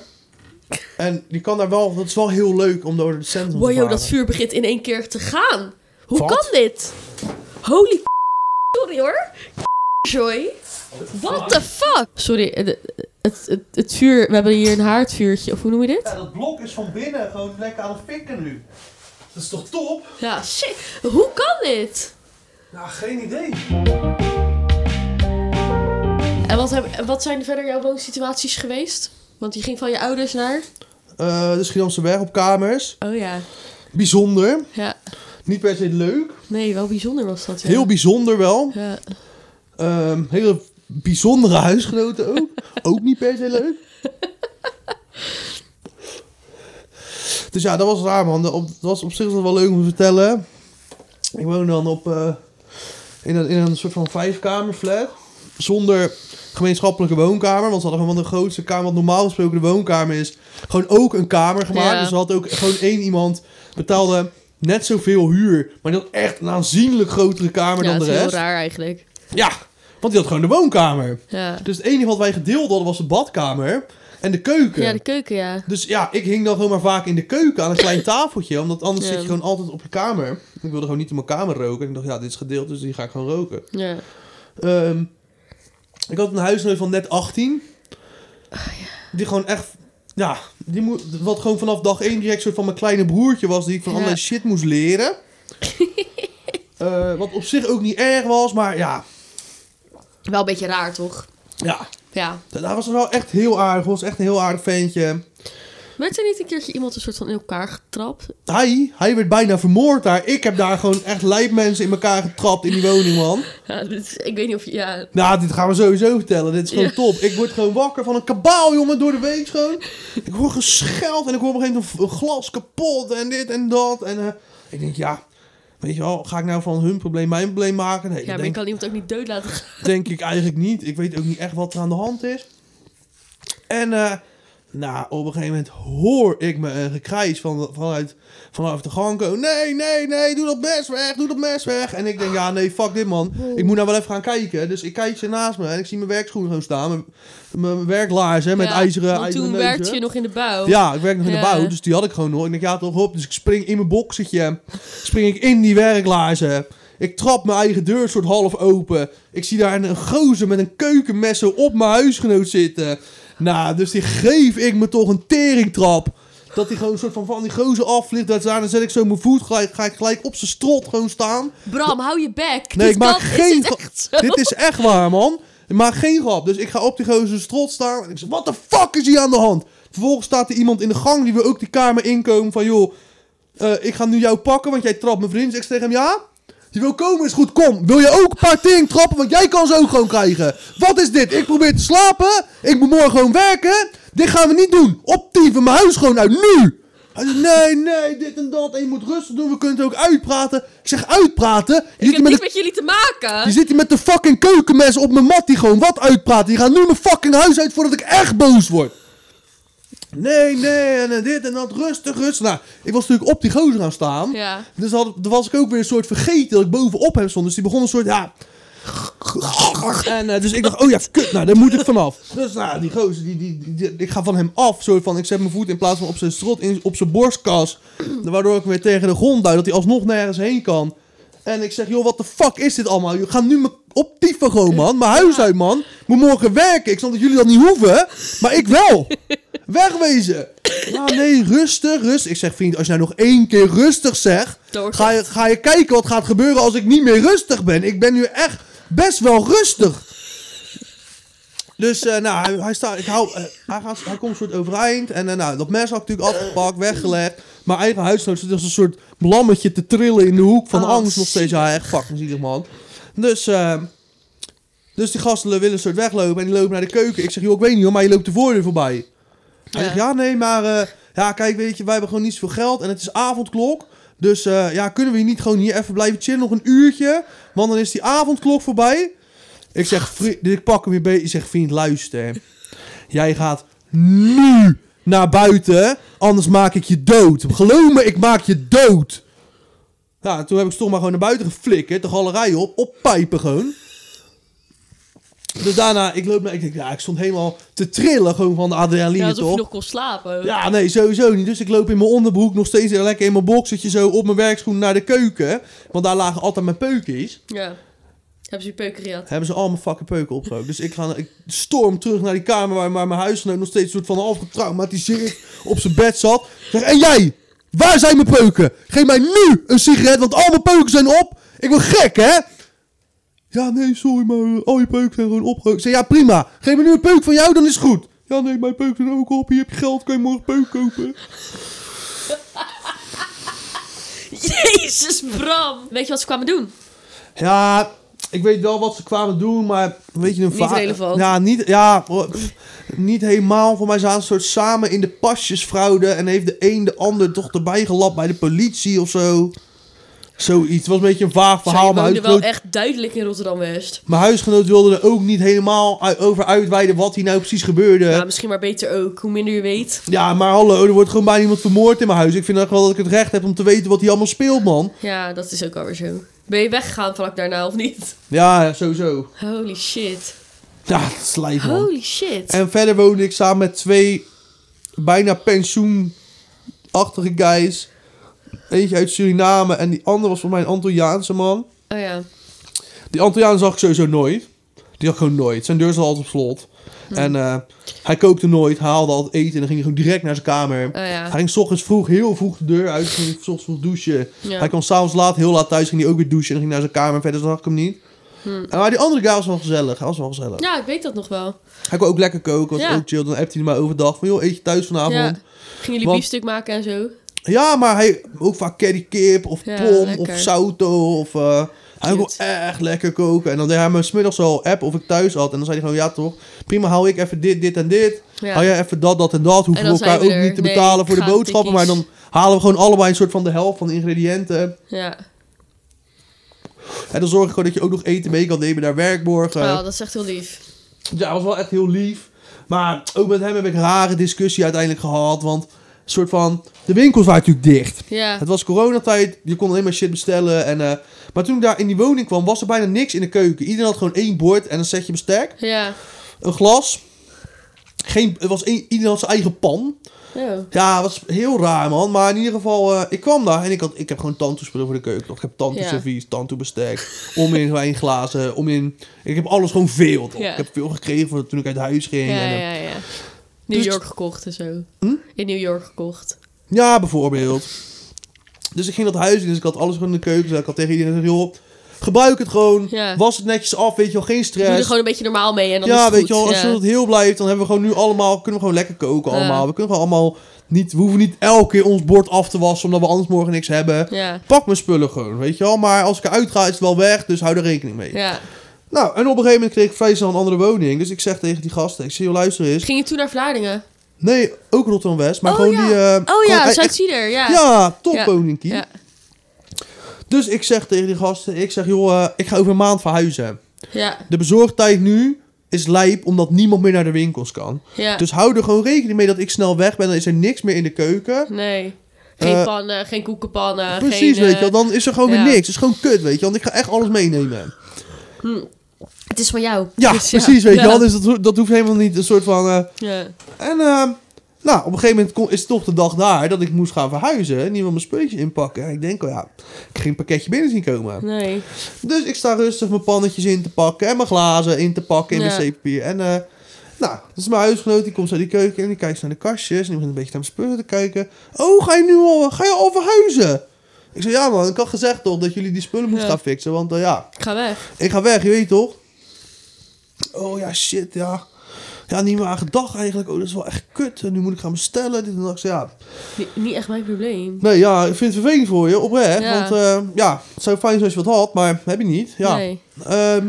S2: En die kan daar wel, dat is wel heel leuk om door het centrum
S1: Wow,
S2: te
S1: joh,
S2: varen.
S1: dat vuur begint in één keer te gaan. Hoe
S2: Wat?
S1: kan dit? Holy k- Sorry hoor. Joy. What the fuck? Sorry, het, het, het, het vuur... We hebben hier een haardvuurtje. Of hoe noem je dit?
S2: Ja, dat blok is van binnen gewoon lekker aan het fikken nu. Dat is toch top?
S1: Ja, shit. Hoe kan dit?
S2: Nou, geen idee.
S1: En wat, heb, en wat zijn verder jouw woonsituaties geweest? Want die ging van je ouders naar...
S2: de Schiedamse weg dus op kamers.
S1: Oh ja.
S2: Bijzonder.
S1: Ja.
S2: Niet per se leuk.
S1: Nee, wel bijzonder was dat. Ja.
S2: Heel bijzonder wel.
S1: Ja.
S2: Ehm, hele bijzondere huisgenoten ook. ook niet per se leuk. Dus ja, dat was raar man. Op, dat was op zich was dat wel leuk om te vertellen. Ik woon dan op, eh, in, een, in een soort van vijfkamerflat. Zonder gemeenschappelijke woonkamer. Want ze hadden gewoon de grootste kamer, wat normaal gesproken de woonkamer is. Gewoon ook een kamer gemaakt.
S1: Ja.
S2: Dus ze had ook gewoon één iemand betaalde net zoveel huur. Maar die had echt een aanzienlijk grotere kamer
S1: ja,
S2: dan de
S1: het is heel
S2: rest.
S1: raar eigenlijk.
S2: Ja, want die had gewoon de woonkamer.
S1: Ja.
S2: Dus het enige wat wij gedeeld hadden was de badkamer en de keuken.
S1: ja, de keuken, ja.
S2: Dus ja, ik hing dan gewoon maar vaak in de keuken aan een klein tafeltje. Omdat anders
S1: Ja.
S2: zit je gewoon altijd op je kamer. Ik wilde gewoon niet in mijn kamer roken. En ik dacht, ja, dit is gedeeld, dus die ga ik gewoon roken.
S1: Ja.
S2: Ehm, ik had een huisgenoot van net 18. Die gewoon echt... Ja, die moet, wat gewoon vanaf dag 1 direct soort van mijn kleine broertje was... die ik van
S1: Ja.
S2: allerlei shit moest leren. Eh, wat op zich ook niet erg was, maar ja...
S1: Wel een beetje raar, toch?
S2: Ja,
S1: Ja.
S2: Daar was het wel echt heel aardig. was echt een heel aardig ventje.
S1: Werd er niet een keertje iemand een soort van in elkaar getrapt?
S2: Hij, hij werd bijna vermoord daar. Ik heb daar gewoon echt lijp mensen in elkaar getrapt in die woning, man.
S1: Ja, dit is- ik weet niet of je... Ja.
S2: Nou, dit gaan we sowieso vertellen. Dit is gewoon
S1: Ja.
S2: top. Ik word gewoon wakker van een kabaal, jongen, door de week gewoon. Ik hoor gescheld en ik hoor op een gegeven moment een glas kapot en dit en dat. En eh, ik denk, ja, weet je wel, ga ik nou van hun probleem mijn probleem maken? Nee,
S1: Ja,
S2: dat
S1: maar
S2: denk,
S1: ik kan iemand ook niet dood laten gaan.
S2: denk ik eigenlijk niet. Ik weet ook niet echt wat er aan de hand is. En eh, nou, op een gegeven moment hoor ik me een gekrijs van, vanuit, vanaf de gang komen. Nee, nee, nee, doe dat mes weg, doe dat mes weg. En ik denk, ja, nee, fuck dit man. Ik moet nou wel even gaan kijken. Dus ik kijk ze naast me en ik zie mijn werkschoenen gewoon staan. Mijn, mijn werklaarzen met
S1: Ja,
S2: ijzeren,
S1: want
S2: ijzeren
S1: toen
S2: neuzen.
S1: werkte je nog in de bouw.
S2: Ja, ik werk nog in de
S1: Ja.
S2: bouw, dus die had ik gewoon nog. Ik denk, ja, toch op. Dus ik spring in mijn boxetje. Spring ik in die werklaarzen. Ik trap mijn eigen deur soort half open. Ik zie daar een, een gozer met een keukenmes zo op mijn huisgenoot zitten. Nou, dus die geef ik me toch een teringtrap. Dat die gewoon een soort van van die gozer afvliegt. Dat daar, dan zet ik zo mijn voet gelijk, ga ik gelijk op zijn strot gewoon staan.
S1: Bram, hou je bek.
S2: Nee,
S1: Dit
S2: ik maak
S1: kan- Dus is
S2: geen...
S1: dit
S2: grap.
S1: echt zo?
S2: Dit is echt waar, man. Ik maak geen grap. Dus ik ga op die gozer strot staan. En ik zeg, wat de fuck is hier aan de hand? Vervolgens staat er iemand in de gang die wil ook die kamer inkomen. Van, joh, eh, ik ga nu jou pakken, want jij trapt mijn vriend. Dus ik zeg tegen hem, ja? Je wil komen, is goed, kom. Wil je ook een paar ting trappen, want jij kan ze ook gewoon krijgen. Wat is dit? Ik probeer te slapen. Ik moet morgen gewoon werken. Dit gaan we niet doen. Optieven mijn huis gewoon uit, nu. Hij zegt, nee, nee, dit en dat. En je moet rustig doen, we kunnen het ook uitpraten. Ik zeg, uitpraten? Je zit
S1: Ik
S2: hier
S1: heb
S2: met
S1: niks
S2: een
S1: met jullie te maken.
S2: die zit hier met de fucking keukenmes op mijn mat die gewoon wat uitpraat. Die gaat nu mijn fucking huis uit voordat ik echt boos word. Nee, nee, en eh, dit en dat. Rustig, rustig. Nou, ik was natuurlijk op die gozer gaan staan.
S1: Ja.
S2: Dus had, dan was ik ook weer een soort vergeten dat ik bovenop hem stond. Dus die begon een soort, ja... En eh, dus ik dacht, oh ja, kut, nou, daar moet ik vanaf. Dus nou, die gozer, die, die, die- die- ik ga van hem af. Soort van, ik zet mijn voet in plaats van op zijn strot, in, op zijn borstkas. Waardoor ik hem weer tegen de grond duw, dat hij alsnog nergens heen kan. En ik zeg, joh, wat de fuck is dit allemaal? Jullie gaan nu me optieven gewoon, man. Mijn huis uit, man. Ik moet morgen werken. Ik snap dat jullie dat niet hoeven, maar ik wel. Wegwezen. Ja, nee, rustig, rustig. Ik zeg, vriend, als je nou nog één keer rustig zegt...
S1: Dan wordt
S2: Ga je, ga je kijken wat gaat gebeuren als ik niet meer rustig ben. Ik ben nu echt best wel rustig. Dus eh, nou, hij, hij, staat, ik hou, eh, hij, gaat, hij komt soort overeind. En eh, nou, dat mes had ik natuurlijk afgepakt, weggelegd. Mijn eigen huisgenoot zit als een soort blammetje te trillen in de hoek van
S1: Oh,
S2: angst nog steeds. Ja, echt fucking zielig man. Dus, eh, dus die gasten willen een soort weglopen en die lopen naar de keuken. Ik zeg, joh, ik weet niet hoor, maar je loopt de voordeur voorbij. Hij
S1: Ja.
S2: zegt, ja, nee, maar eh, ja, kijk, weet je, wij hebben gewoon niet zoveel geld en het is avondklok. Dus eh, ja, kunnen we hier niet gewoon hier even blijven chillen nog een uurtje? Want dan is die avondklok voorbij. Ik zeg, vri- ik pak hem weer bij. Ik zeg, vriend, luister. Jij gaat nu naar buiten, anders maak ik je dood. Geloof me, ik maak je dood. Ja, toen heb ik stom maar gewoon naar buiten geflikkerd, de galerij op, oppijpen gewoon. Dus daarna, ik loop naar, ik denk, ja, ik stond helemaal te trillen gewoon van de adrenaline,
S1: Ja, alsof
S2: toch?
S1: je nog kon slapen. ook.
S2: Ja, nee, sowieso niet. Dus ik loop in mijn onderbroek nog steeds lekker in mijn boxertje zo op mijn werkschoen naar de keuken. Want daar lagen altijd mijn peukies.
S1: Ja. Hebben ze je peuken gehad?
S2: Hebben ze al mijn fucking peuken opgerookt. Dus ik, ga, ik storm terug naar die kamer waar, waar mijn huisgenoot nog steeds soort van half getraumatiseerd op zijn bed zat. Zeg, en jij? Waar zijn mijn peuken? Geef mij nu een sigaret, want al mijn peuken zijn op. Ik word gek, hè? Ja, nee, sorry, maar eh, al je peuken zijn gewoon opgerookt. Ik Zeg, ja, prima. Geef me nu een peuk van jou, dan is het goed. Ja, nee, mijn peuken zijn ook op. Hier heb je geld, kan je morgen peuk kopen.
S1: Jezus, Bram! Weet je wat ze kwamen doen?
S2: Ja, ik weet wel wat ze kwamen doen, maar weet je een
S1: Niet
S2: va-
S1: relevant.
S2: Ja, niet, ja pff, niet helemaal. Voor mij zaten ze soort samen in de pasjesfraude en heeft de een de ander toch erbij gelapt bij de politie of zo. Zoiets. Het was een beetje een vaag
S1: Zij
S2: verhaal. Mijn
S1: woonden wel
S2: huisgenoot,
S1: echt duidelijk in Rotterdam-West.
S2: mijn huisgenoot wilde er ook niet helemaal u- over uitweiden wat hier nou precies gebeurde.
S1: Ja,
S2: Ja.
S1: misschien maar beter ook. Hoe minder je weet.
S2: maar hallo, er wordt gewoon bijna iemand vermoord in mijn huis. Ik vind echt wel dat ik het recht heb om te weten wat hier allemaal speelt, man.
S1: Ja, dat is ook alweer zo. Ben je weggegaan vlak daarna of niet?
S2: Ja, sowieso.
S1: Holy shit.
S2: Ja, het is lijp, man.
S1: Holy shit.
S2: En verder woonde ik samen met twee bijna pensioenachtige guys. Eentje uit Suriname en die andere was voor mij een Antilliaanse man.
S1: Oh ja.
S2: Die Antilliaan zag ik sowieso nooit. Die had ik gewoon nooit. Zijn deur zat altijd op slot.
S1: Hm.
S2: En eh, hij kookte nooit, hij haalde altijd eten en dan ging hij gewoon direct naar zijn kamer.
S1: Oh ja.
S2: Hij ging 's ochtends vroeg, heel vroeg de deur uit, ging 's ochtends vroeg douchen.
S1: Ja.
S2: Hij kwam s'avonds laat, heel laat thuis, ging hij ook weer douchen en ging naar zijn kamer. Verder zag ik hem niet.
S1: Hm.
S2: En Maar die andere guy was wel gezellig, hij was wel gezellig.
S1: Ja, ik weet dat nog wel.
S2: Hij kon ook lekker koken, was
S1: Ja.
S2: ook chill. Dan appte hij maar overdag van, joh, eet je thuis vanavond?
S1: Ja.
S2: Ja,
S1: Gingen jullie
S2: Want-
S1: biefstuk maken en zo?
S2: maar hij ook vaak curry kip of
S1: Ja,
S2: pom
S1: lekker.
S2: of sauto of... eh, hij kon
S1: Cute.
S2: echt lekker koken. En dan deed hij me smiddags al app of ik thuis had. En dan zei hij gewoon, ja toch, prima, haal ik even dit, dit en dit.
S1: Ja.
S2: Haal jij even dat, dat en dat. Hoeven
S1: En
S2: we
S1: dan
S2: elkaar
S1: zijn we
S2: ook
S1: er.
S2: niet te
S1: Nee,
S2: betalen voor de
S1: gaan
S2: boodschappen. Maar
S1: tikkies.
S2: dan halen we gewoon allebei een soort van de helft van de ingrediënten.
S1: Ja.
S2: En dan zorg ik gewoon dat je ook nog eten mee kan nemen naar werkborgen.
S1: Oh, dat is echt heel lief.
S2: Ja, hij was wel echt heel lief. Maar ook met hem heb ik een rare discussie uiteindelijk gehad. Want soort van, de winkels waren natuurlijk dicht.
S1: Ja.
S2: Het was coronatijd, je kon alleen maar shit bestellen. En, eh, maar toen ik daar in die woning kwam, was er bijna niks in de keuken. Iedereen had gewoon één bord en een setje bestek.
S1: Ja. een
S2: Een glas. Geen, het was één, iedereen had zijn eigen pan.
S1: Oh.
S2: Ja, het was heel raar, man. Maar in ieder geval, eh, ik kwam daar en ik, had, ik heb gewoon tantoespullen voor de keuken. Toch? Ik heb tantoeservies, tantoebestek, om in wijnglazen, om in... Ik heb alles gewoon veel, toch?
S1: Ja.
S2: Ik heb veel gekregen voor, toen ik uit huis ging.
S1: Ja,
S2: en, eh,
S1: ja, ja. New
S2: Dus-
S1: York gekocht en zo.
S2: Hm?
S1: In New York gekocht.
S2: ja, bijvoorbeeld. Dus ik ging dat huis in, dus ik had alles gewoon in de keuken. Dus ik had tegen iedereen gezegd, joh, gebruik het gewoon.
S1: Ja.
S2: Was het netjes af, weet je wel, geen
S1: Doe er
S2: stress.
S1: gewoon een beetje normaal mee en dan is
S2: Ja,
S1: het
S2: weet je wel,
S1: goed.
S2: als
S1: ja.
S2: het heel blijft, dan hebben we gewoon nu allemaal, kunnen we gewoon lekker koken
S1: Ja.
S2: allemaal. We kunnen gewoon allemaal niet, we hoeven niet elke keer ons bord af te wassen, omdat we anders morgen niks hebben.
S1: Ja.
S2: pak mijn spullen gewoon, weet je wel. Maar als ik eruit ga, is het wel weg, dus hou er rekening mee.
S1: Ja.
S2: Nou, en op een gegeven moment kreeg ik vrij snel een andere woning. Dus ik zeg tegen die gasten, ik zie je luister eens.
S1: Ging je toen naar Vlaardingen?
S2: Nee, ook Rotterdam-West, maar
S1: oh,
S2: gewoon
S1: ja.
S2: die... eh,
S1: oh
S2: gewoon
S1: ja,
S2: echt-
S1: Zuid-Zieder, ja.
S2: Ja, top
S1: Ja.
S2: woningkie.
S1: Ja.
S2: Dus ik zeg tegen die gasten, ik zeg joh, eh, ik ga over een maand verhuizen.
S1: Ja.
S2: De bezorgtijd nu is lijp, omdat niemand meer naar de winkels kan.
S1: ja.
S2: Dus hou er gewoon rekening mee dat ik snel weg ben, dan is er niks meer in de keuken.
S1: Nee. Geen
S2: Eh,
S1: pannen, geen koekenpannen.
S2: Precies,
S1: geen,
S2: weet
S1: eh,
S2: je wel. Dan is er gewoon
S1: ja.
S2: weer niks. Het is gewoon kut, weet je Want ik ga echt alles meenemen.
S1: Hm. Het is van jou.
S2: Ja,
S1: Dus
S2: precies, weet je
S1: Ja.
S2: wel. Dus dat, ho- dat hoeft helemaal niet een soort van... eh,
S1: Ja.
S2: en eh, nou, op een gegeven moment kon- is toch de dag daar dat ik moest gaan verhuizen. En iemand mijn spulletjes inpakken. En ik denk, oh ja, ik ging een pakketje binnen zien komen.
S1: Nee.
S2: Dus ik sta rustig mijn pannetjes in te pakken en mijn glazen in te pakken in
S1: Ja.
S2: mijn wc-papier. En eh, nou, dat is mijn huisgenoot, die komt uit die keuken en die kijkt naar de kastjes. En die begint een beetje naar mijn spullen te kijken. Oh, ga je nu al, ga je al verhuizen? Ik zei, ja man, ik had gezegd toch dat jullie die spullen moeten
S1: Ja.
S2: gaan fixen. Want eh, ja,
S1: Ik ga weg.
S2: ik ga weg, je weet toch? Oh ja, shit, ja. Ja, niet meer aan gedacht eigenlijk. Oh, dat is wel echt kut. En nu moet ik gaan bestellen. Dit en dat. Ik zei, ja,
S1: Ni- niet echt mijn probleem.
S2: nee, ja, ik vind het vervelend voor je, oprecht.
S1: Ja.
S2: Want eh, ja, het zou fijn zijn als je wat had, maar heb je niet. Ja.
S1: Nee.
S2: Ehm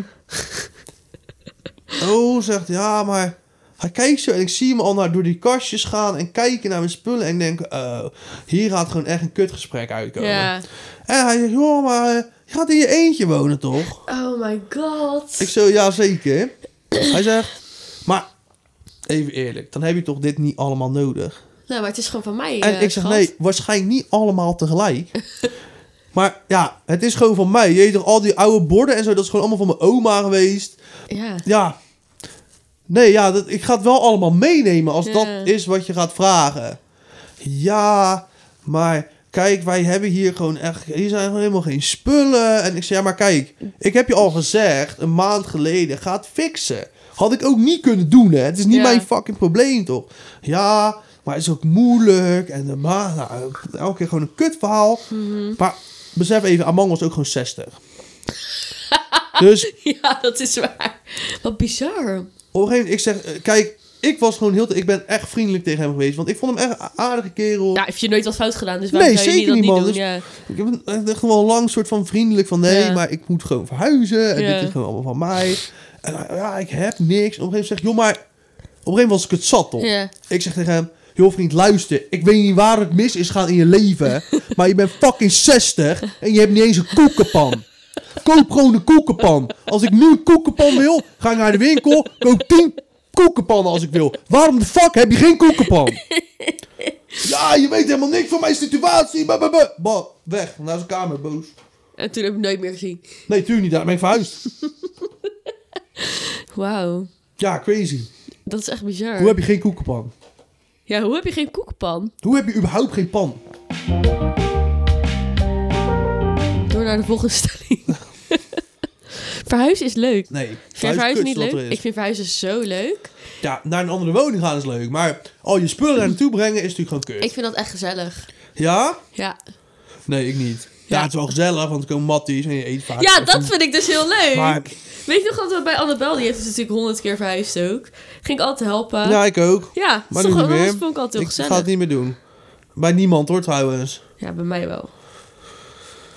S2: oh, zegt hij, ja, maar hij kijkt zo en ik zie hem al naar, door die kastjes gaan en kijken naar mijn spullen en ik denk, oh, hier gaat gewoon echt een kutgesprek uitkomen.
S1: Ja.
S2: En hij zegt, joh, maar eh, je gaat in je eentje wonen toch?
S1: Oh my god.
S2: Ik zo, ja, zeker. hij zegt, maar even eerlijk, dan heb je toch dit niet allemaal nodig?
S1: Nou, maar het is gewoon van mij.
S2: En
S1: eh,
S2: ik zeg,
S1: schat.
S2: nee, waarschijnlijk niet allemaal tegelijk. maar ja, het is gewoon van mij. Je weet toch, al die oude borden en zo, dat is gewoon allemaal van mijn oma geweest.
S1: Ja.
S2: Ja. Nee, ja, dat, ik ga het wel allemaal meenemen als
S1: Ja.
S2: dat is wat je gaat vragen. Ja, maar kijk, wij hebben hier gewoon echt... Hier zijn gewoon helemaal geen spullen. En ik zei, ja, maar kijk, ik heb je al gezegd, een maand geleden, ga het fixen. Had ik ook niet kunnen doen, hè. Het is niet
S1: Ja.
S2: mijn fucking probleem, toch? Ja, maar het is ook moeilijk. En de ma nou, elke keer gewoon een kutverhaal.
S1: Mhm.
S2: Maar besef even, Among was ook gewoon 60. dus
S1: ja, dat is waar. Wat bizar.
S2: op een gegeven moment, ik zeg, eh, kijk, ik was gewoon heel, ik ben echt vriendelijk tegen hem geweest, want ik vond hem echt een aardige kerel.
S1: Ja, heeft Nou, je nooit wat fout gedaan, dus waarom
S2: Nee,
S1: zou je
S2: zeker
S1: niet
S2: niet,
S1: dat
S2: man.
S1: niet
S2: Dus-
S1: doen? Ja.
S2: Ik heb een- echt gewoon lang soort van vriendelijk van, nee,
S1: Ja.
S2: maar ik moet gewoon verhuizen en
S1: Ja.
S2: dit is gewoon allemaal van mij. En hij, ja, ik heb niks. En op een gegeven moment zeg ik, joh, maar op een gegeven moment was ik het zat, toch?
S1: Ja.
S2: Ik zeg tegen hem, joh vriend, luister, ik weet niet waar het mis is gaan in je leven, maar je bent fucking 60 en je hebt niet eens een koekenpan. Koop gewoon een koekenpan. Als ik nu een koekenpan wil, ga ik naar de winkel, koop 10 koekenpannen als ik wil. Waarom de fuck heb je geen koekenpan? Ja, je weet helemaal niks van mijn situatie. Bah, bah, bah. Bah, weg, naar zijn kamer, boos.
S1: En toen heb ik hem nooit meer gezien.
S2: Nee, tuurlijk niet, daar ben ik verhuisd.
S1: Wauw.
S2: Ja, crazy.
S1: Dat is echt bizar.
S2: Hoe heb je geen koekenpan?
S1: Ja, hoe heb je geen koekenpan?
S2: Hoe heb je überhaupt geen pan?
S1: Door naar de volgende stelling. verhuizen is leuk.
S2: Nee. verhuis
S1: Vind jij verhuizen
S2: kut,
S1: niet
S2: zoals
S1: leuk?
S2: er is.
S1: Ik vind verhuizen zo leuk.
S2: Ja, naar een andere woning gaan is leuk. Maar al je spullen daar naartoe brengen is natuurlijk gewoon kut.
S1: Ik vind dat echt gezellig.
S2: Ja?
S1: Ja.
S2: Nee, ik niet. Ja,
S1: Ja.
S2: het is wel gezellig, want er komen matties en je eet vaak.
S1: Ja, dat vind ik dus heel leuk.
S2: Maar-
S1: Weet je nog dat we bij Annabel, die heeft dus natuurlijk honderd keer verhuisd ook. Ging ik altijd helpen.
S2: Ja, ik ook.
S1: Ja, dat
S2: Maar
S1: is
S2: nu
S1: toch
S2: niet
S1: wel-
S2: meer.
S1: dat vond ik altijd heel
S2: Ik
S1: gezellig.
S2: ga het niet meer doen. Bij niemand hoor, trouwens.
S1: Ja, bij mij wel.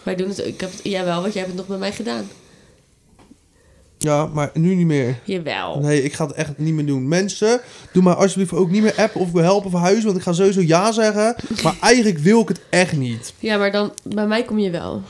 S1: Wij doen het, ik heb het, jawel, want jij hebt het nog bij mij gedaan.
S2: Ja, maar nu niet meer.
S1: Jawel.
S2: Nee, ik ga het echt niet meer doen. Mensen, doe maar alsjeblieft ook niet meer appen of we helpen verhuizen. Want ik ga sowieso ja zeggen. Maar eigenlijk wil ik het echt niet.
S1: Ja, maar dan, bij mij kom je wel.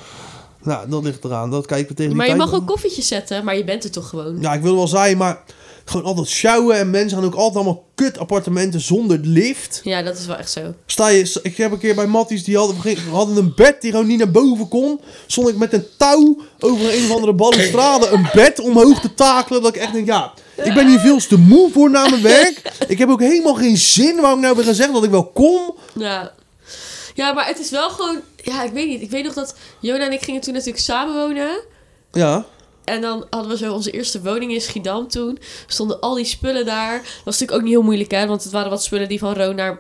S2: Nou, dat ligt eraan. Dat kijken we tegen die
S1: Maar je
S2: tijd
S1: mag
S2: aan.
S1: ook koffietjes zetten, maar je bent er toch gewoon.
S2: Ja, ik wil wel zijn, maar gewoon altijd sjouwen. En mensen gaan ook altijd allemaal kut appartementen zonder lift.
S1: Ja, dat is wel echt zo.
S2: Sta je, ik heb een keer bij Matties, die hadden, we hadden een bed die gewoon niet naar boven kon. Stond ik met een touw over een of andere balustrade een bed omhoog te takelen. Dat ik echt denk, ja, ik ben hier veel te moe voor na mijn werk. Ik heb ook helemaal geen zin waarom ik nou weer gezegd dat ik wel kom.
S1: Ja. ja, maar het is wel gewoon... Ja, ik weet niet. Ik weet nog dat Jona en ik gingen toen natuurlijk samen wonen.
S2: Ja,
S1: En dan hadden we zo onze eerste woning in Schiedam toen. Stonden al die spullen daar. Dat was natuurlijk ook niet heel moeilijk, hè. Want het waren wat spullen die van Roon naar,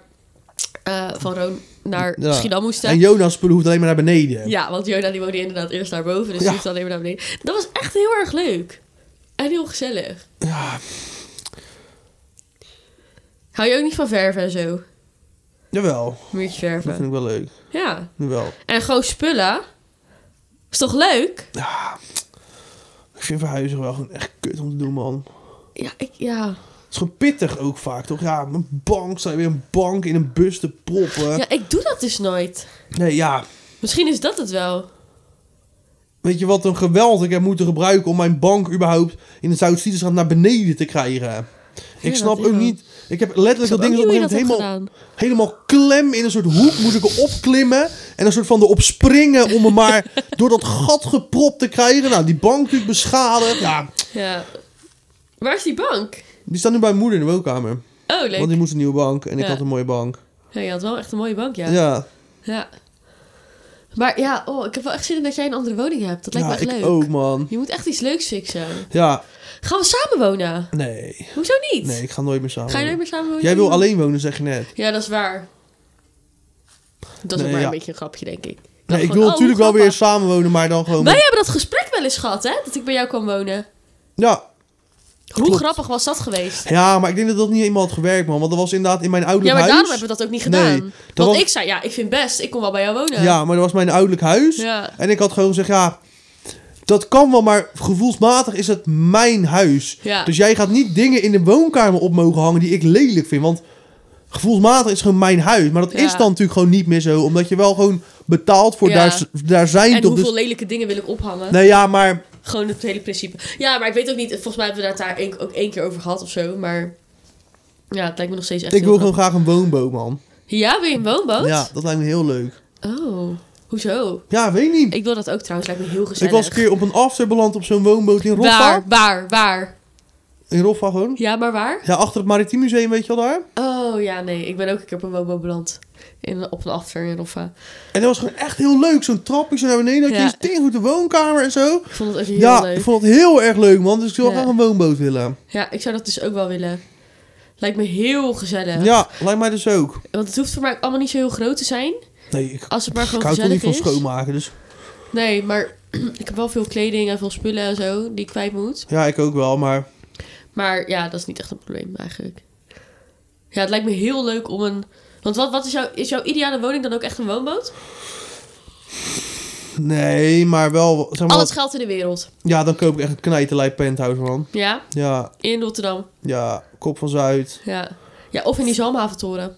S1: eh, van Roon naar
S2: Ja.
S1: Schiedam moesten.
S2: en Jonas spullen hoeft alleen maar naar beneden.
S1: Ja, want Jona die woonde inderdaad eerst naar boven, dus
S2: Ja.
S1: die hoefde alleen maar naar beneden. Dat was echt heel erg leuk. En heel gezellig.
S2: Ja,
S1: Hou je ook niet van verven en zo?
S2: jawel.
S1: Muurtje
S2: Dat vind
S1: verven.
S2: ik wel leuk.
S1: Ja.
S2: Jawel.
S1: En gewoon spullen. Is toch leuk?
S2: Ja, ik vind verhuizen wel gewoon echt kut om te doen, man.
S1: Ja, ik, ja.
S2: Het is gewoon pittig ook vaak, toch? Ja, een bank, sta je weer een bank in een bus te proppen.
S1: ja, ik doe dat dus nooit.
S2: Nee, ja.
S1: Misschien is dat het wel.
S2: Weet je wat een geweld ik heb moeten gebruiken om mijn bank überhaupt in de Zuid-Siedersstraat naar beneden te krijgen? Ik
S1: Ja,
S2: snap
S1: dat
S2: ook
S1: wel.
S2: niet. Ik heb letterlijk
S1: snap
S2: dat ding
S1: ook
S2: op een
S1: niet
S2: gegeven
S1: hoe je
S2: moment
S1: dat
S2: helemaal, helemaal klem in een soort hoek moest ik erop klimmen. En een soort van erop springen om me maar door dat gat gepropt te krijgen. Nou, die bank natuurlijk beschadigd. Ja,
S1: Ja. Waar is die bank?
S2: Die staat nu bij mijn moeder in de woonkamer.
S1: Oh,
S2: Want
S1: leuk.
S2: die moest een nieuwe bank. En ik
S1: Ja.
S2: had een mooie bank.
S1: Ja, je had wel echt een mooie bank, ja.
S2: Ja.
S1: Ja. Maar ja, oh, ik heb wel echt zin in dat jij een andere woning hebt. Dat lijkt
S2: Ja,
S1: me echt
S2: ik
S1: leuk.
S2: ook, man.
S1: Je moet echt iets leuks fixen.
S2: Ja.
S1: Gaan we samen wonen?
S2: Nee.
S1: Hoezo niet?
S2: Nee, ik ga nooit meer samen.
S1: Ga je nooit
S2: wonen.
S1: meer samen wonen?
S2: Jij wil alleen wonen, zeg je net.
S1: Ja, dat is waar. Dat is
S2: Nee,
S1: ook maar
S2: ja.
S1: een beetje een grapje, denk ik.
S2: Nee, ik
S1: gewoon,
S2: wil
S1: oh,
S2: natuurlijk wel
S1: grappig.
S2: weer samen wonen, maar dan gewoon...
S1: Wij hebben dat gesprek wel eens gehad, hè? Dat ik bij jou kwam wonen.
S2: Ja.
S1: Hoe
S2: Klopt.
S1: grappig was dat geweest?
S2: ja, maar ik denk dat dat niet helemaal had gewerkt, man. Want dat was inderdaad in mijn
S1: Ja,
S2: ouderlijk
S1: maar
S2: huis.
S1: daarom hebben we dat ook niet gedaan.
S2: Nee, dat
S1: Want
S2: was-
S1: ik zei, ja, ik vind best, ik kom wel bij jou wonen.
S2: Ja, maar dat was mijn ouderlijk huis.
S1: Ja.
S2: En ik had gewoon gezegd, ja... Dat kan wel, maar gevoelsmatig is het mijn huis.
S1: Ja.
S2: Dus jij gaat niet dingen in de woonkamer op mogen hangen die ik lelijk vind. Want gevoelsmatig is gewoon mijn huis. Maar dat
S1: Ja.
S2: is dan natuurlijk gewoon niet meer zo. Omdat je wel gewoon betaalt voor
S1: Ja.
S2: daar, daar zijn
S1: En
S2: toch.
S1: hoeveel
S2: Dus,
S1: lelijke dingen wil ik ophangen?
S2: nee, ja, maar
S1: Gewoon het hele principe. Ja, maar ik weet ook niet. Volgens mij hebben we daar het daar één- ook één keer over gehad of zo. Maar ja, het lijkt me nog steeds echt
S2: ik
S1: heel
S2: wil gewoon graag een woonboot, man.
S1: grappig. Ja, wil je een woonboot?
S2: Ja, dat lijkt me heel leuk.
S1: Oh, hoezo?
S2: Ja, weet niet.
S1: Ik wil dat ook trouwens. Lijkt me heel
S2: Ik
S1: gezellig.
S2: was een keer op een after beland op zo'n woonboot in Roffa.
S1: Waar, waar, waar?
S2: In Roffa gewoon.
S1: Ja, maar waar?
S2: Ja, achter het Maritiem Museum, weet je wel daar.
S1: Oh ja, nee. Ik ben ook een keer op een woonboot beland. In, op een after in Roffa.
S2: En dat was gewoon echt heel leuk. Zo'n trapje zo naar beneden. Dat je
S1: Ja.
S2: eens tegenkomt de woonkamer en zo.
S1: Ik vond het echt heel
S2: ja,
S1: leuk.
S2: ik vond het heel erg leuk, man. Dus ik zou
S1: Ja.
S2: graag een woonboot willen.
S1: Ja, ik zou dat dus ook wel willen. Lijkt me heel gezellig.
S2: Ja, lijkt mij dus ook.
S1: Want het hoeft voor mij ook allemaal niet zo heel groot te zijn.
S2: Nee, ik,
S1: Als het maar
S2: ik
S1: gewoon
S2: hou toch niet
S1: gezellig
S2: van
S1: is.
S2: schoonmaken. Dus
S1: Nee, maar ik heb wel veel kleding en veel spullen en zo die ik kwijt moet.
S2: ja, ik ook wel. Maar
S1: Maar ja, dat is niet echt een probleem eigenlijk. Ja, het lijkt me heel leuk om een... Want wat, wat is, jouw, is jouw ideale woning dan ook echt een woonboot?
S2: nee, maar wel. Zeg maar,
S1: Al het geld in de wereld.
S2: Ja, dan koop ik echt een knijterlijn penthouse, man.
S1: Ja,
S2: Ja,
S1: in Rotterdam.
S2: ja, kop van Zuid.
S1: Ja, ja of in die Zalmhaventoren.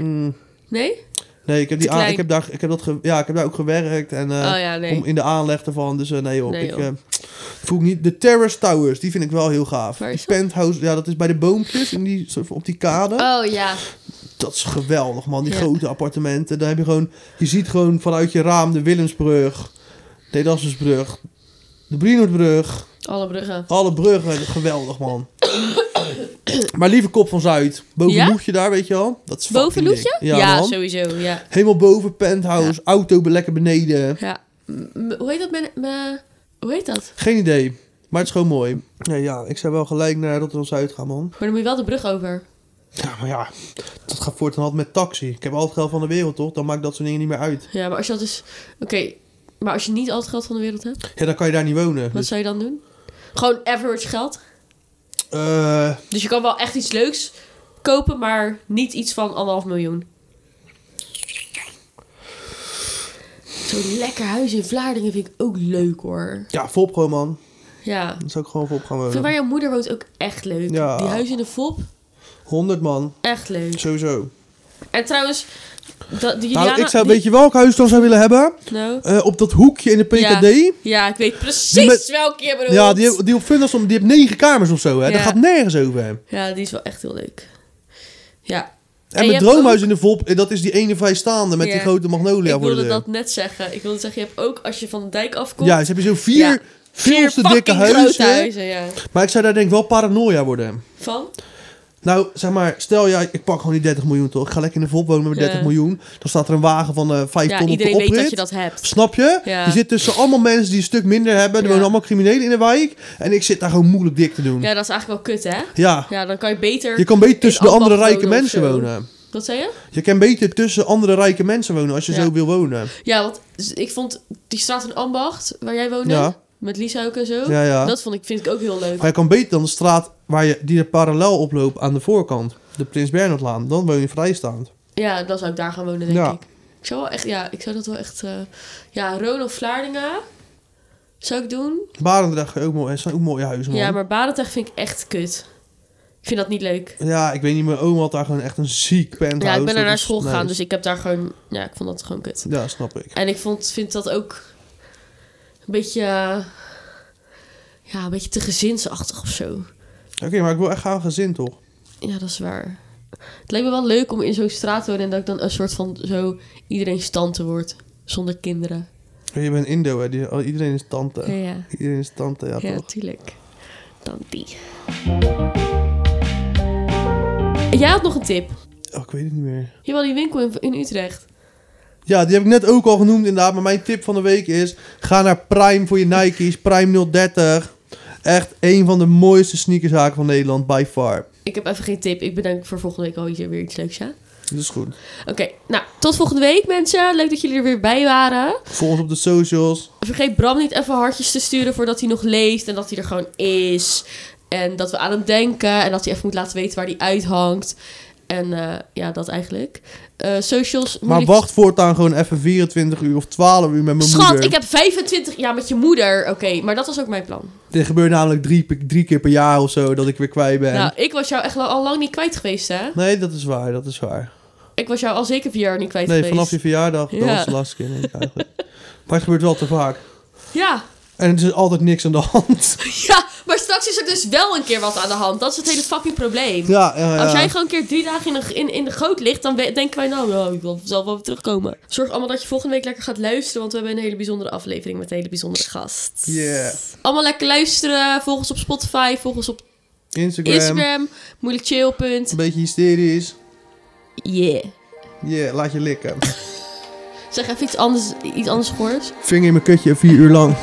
S2: Mm,
S1: Nee?
S2: Nee, ik heb, die
S1: Te
S2: aan,
S1: klein.
S2: ik, heb daar, ik, heb dat ge- ja, ik heb daar ook gewerkt. En, eh,
S1: oh ja, nee.
S2: om in de aanleg ervan. Dus eh, nee joh,
S1: Nee,
S2: ik
S1: joh.
S2: eh, voel ik niet. De Terrace Towers, die vind ik wel heel gaaf.
S1: Waar
S2: die
S1: is dat?
S2: penthouse, ja, dat is bij de boompjes in die, soort van op die kade.
S1: Oh ja.
S2: Dat is geweldig man, die
S1: Ja.
S2: grote appartementen. Daar heb je gewoon, je ziet gewoon vanuit je raam de Willemsbrug, de Edassusbrug, de Brienoordbrug,
S1: Alle bruggen.
S2: alle bruggen. Geweldig man. maar liever kop van Zuid. Boven
S1: Ja?
S2: Loetje daar, weet je wel. Dat is fucking
S1: Boven Loetje?
S2: dik. Ja, man.
S1: sowieso, ja.
S2: Helemaal boven, penthouse, auto lekker beneden.
S1: ja. M- m- hoe heet dat? Men, me- hoe heet dat?
S2: Geen idee. Maar het is gewoon mooi. Nee, ja, ik zou wel gelijk naar Rotterdam Zuid gaan, man.
S1: Maar dan moet je wel de brug over.
S2: Ja, maar ja, dat gaat voortaan altijd met taxi. Ik heb al het geld van de wereld, toch? Dan maakt dat soort dingen niet meer uit.
S1: Ja, maar als je dat dus... Oké, maar als je niet al het geld van de wereld hebt,
S2: Ja, dan kan je daar niet wonen.
S1: wat
S2: Dus,
S1: zou je dan doen? Gewoon average geld?
S2: eh,
S1: Dus je kan wel echt iets leuks kopen, maar niet iets van anderhalf miljoen. Zo'n lekker huis in Vlaardingen vind ik ook leuk hoor.
S2: ja, Fop gewoon, man.
S1: Ja.
S2: Dan zou ik gewoon Fop gaan
S1: Ik vind waar
S2: wonen.
S1: jouw moeder woont ook echt leuk.
S2: Ja.
S1: Die huis in de Fop,
S2: 100 man,
S1: echt leuk.
S2: sowieso.
S1: En trouwens, dat, die Juliana...
S2: Nou, ik zou,
S1: die-
S2: weet je welk huis dan zou willen hebben?
S1: Nou.
S2: Eh, op dat hoekje in de PKD.
S1: Ja, ik weet precies
S2: Die met-
S1: welke je bedoelt.
S2: Ja, die, die op Fundersom, die heeft negen kamers of zo, hè? Daar
S1: Ja.
S2: gaat nergens over.
S1: ja, die is wel echt heel leuk. Ja. En
S2: En
S1: je
S2: mijn
S1: hebt
S2: droomhuis in de Fop, eh, dat is die ene vrijstaande met
S1: Ja.
S2: die grote magnolia
S1: ik
S2: voor de
S1: wilde
S2: deur.
S1: dat net zeggen. Ik wilde zeggen, je hebt ook als je van de dijk afkomt...
S2: Ja, ze hebben zo vier
S1: Ja.
S2: veel
S1: vier
S2: te dikke
S1: fucking grote
S2: huizen.
S1: huizen, ja.
S2: Maar ik zou daar denk ik wel paranoia worden.
S1: Van?
S2: Nou, zeg maar, stel jij, ik pak gewoon die 30 miljoen toch. Ik ga lekker in de volk wonen met 30
S1: Ja.
S2: miljoen. Dan staat er een wagen van eh 5
S1: Ja,
S2: ton op de
S1: iedereen
S2: oprit.
S1: weet dat je dat hebt.
S2: Snap je?
S1: Ja.
S2: Je zit tussen allemaal mensen die een stuk minder hebben. Er
S1: Ja.
S2: wonen allemaal criminelen in de wijk. En ik zit daar gewoon moeilijk dik te doen. Ja.
S1: Ja, dat is eigenlijk wel kut, hè? Ja, dan kan je beter...
S2: Je kan beter tussen de
S1: In
S2: andere
S1: Amsterdam
S2: rijke
S1: wonen of
S2: mensen
S1: zo.
S2: wonen.
S1: Wat zei je?
S2: Je kan beter tussen andere rijke mensen wonen als je
S1: Ja.
S2: zo wil wonen.
S1: Ja, want z- ik vond die straat in Ambacht, waar jij woonde,
S2: Ja.
S1: met Lisa ook en zo...
S2: Ja, ja.
S1: Dat vond ik, vind ik ook heel leuk.
S2: Maar je kan beter dan de straat waar je, die er parallel oploopt aan de voorkant. De Prins Bernhardlaan. Dan woon je vrijstaand.
S1: Ja, dan zou ik daar gaan wonen, denk
S2: Ja.
S1: ik. Ik zou wel echt... Ja, ik zou dat wel echt... eh, ja, Ronald Vlaardingen zou ik doen.
S2: Barendrecht ook mooi, zijn ook mooie huizen, man.
S1: Ja, maar Barendrecht vind ik echt kut. Ik vind dat niet leuk.
S2: Ja, ik weet niet, mijn oom had daar gewoon echt een ziek penthouse.
S1: Ja, ik ben
S2: Dat
S1: er naar
S2: is-
S1: school
S2: nee,
S1: gegaan,
S2: dat-
S1: dus ik heb daar gewoon... Ja, ik vond dat gewoon kut.
S2: Ja, snap ik.
S1: En ik vond, vind dat ook een beetje, eh, ja, een beetje te gezinsachtig of zo.
S2: Oké, maar ik wil echt gaan gezin, toch?
S1: Ja, dat is waar. Het lijkt me wel leuk om in zo'n straat te wonen en dat ik dan een soort van zo iedereen tante word. Zonder kinderen.
S2: Je bent Indo, hè? Die, oh, iedereen is tante.
S1: Ja, ja.
S2: Iedereen is tante, ja,
S1: Ja,
S2: toch?
S1: tuurlijk. dan die. Jij had nog een tip.
S2: Oh, ik weet het niet meer.
S1: Je die winkel in, in Utrecht.
S2: Ja, die heb ik net ook al genoemd inderdaad. Maar mijn tip van de week is... Ga naar Prime voor je Nike's. Prime 030. Echt een van de mooiste sneakerszaken van Nederland. By far.
S1: Ik heb even geen tip. Ik bedenk voor volgende week alweer weer iets leuks, ja?
S2: Dat is goed.
S1: Oké, nou, tot volgende week mensen. Leuk dat jullie er weer bij waren.
S2: Volg ons op de socials.
S1: Vergeet Bram niet even hartjes te sturen voordat hij nog leest en dat hij er gewoon is. En dat we aan hem denken en dat hij even moet laten weten waar hij uithangt. En eh, ja, dat eigenlijk. Eh, socials.
S2: Maar
S1: moeilijk-
S2: wacht voortaan gewoon even 24 uur of 12 uur met mijn
S1: Schat,
S2: moeder.
S1: ik heb 25 jaar met je moeder. Oké, maar dat was ook mijn plan.
S2: Dit gebeurt namelijk drie, pe- drie keer per jaar of zo dat ik weer kwijt ben.
S1: Nou, ik was jou echt al lang niet kwijt geweest, hè?
S2: Nee, dat is waar, dat is waar.
S1: Ik was jou al zeker vier jaar niet kwijt
S2: Nee,
S1: geweest.
S2: vanaf je verjaardag, dat
S1: Ja.
S2: was de laatste keer, denk ik eigenlijk. Maar het gebeurt wel te vaak.
S1: Ja.
S2: En er is altijd niks aan de hand.
S1: ja, maar straks is er dus wel een keer wat aan de hand. Dat is het hele fucking probleem.
S2: Ja, eh, ja, ja.
S1: Als jij gewoon een keer drie dagen in de, in, in de goot ligt, dan we- denken wij nou, nou, ik wil zelf wel weer terugkomen. Zorg allemaal dat je volgende week lekker gaat luisteren, want we hebben een hele bijzondere aflevering met een hele bijzondere gast.
S2: Yeah.
S1: Allemaal lekker luisteren, volg ons op Spotify, volg ons op
S2: Instagram,
S1: Instagram, moeilijk chill punt.
S2: een beetje hysterisch.
S1: Yeah.
S2: Yeah, laat je likken.
S1: Zeg even iets anders, iets anders gehoord.
S2: Vinger in mijn kutje, vier uur lang.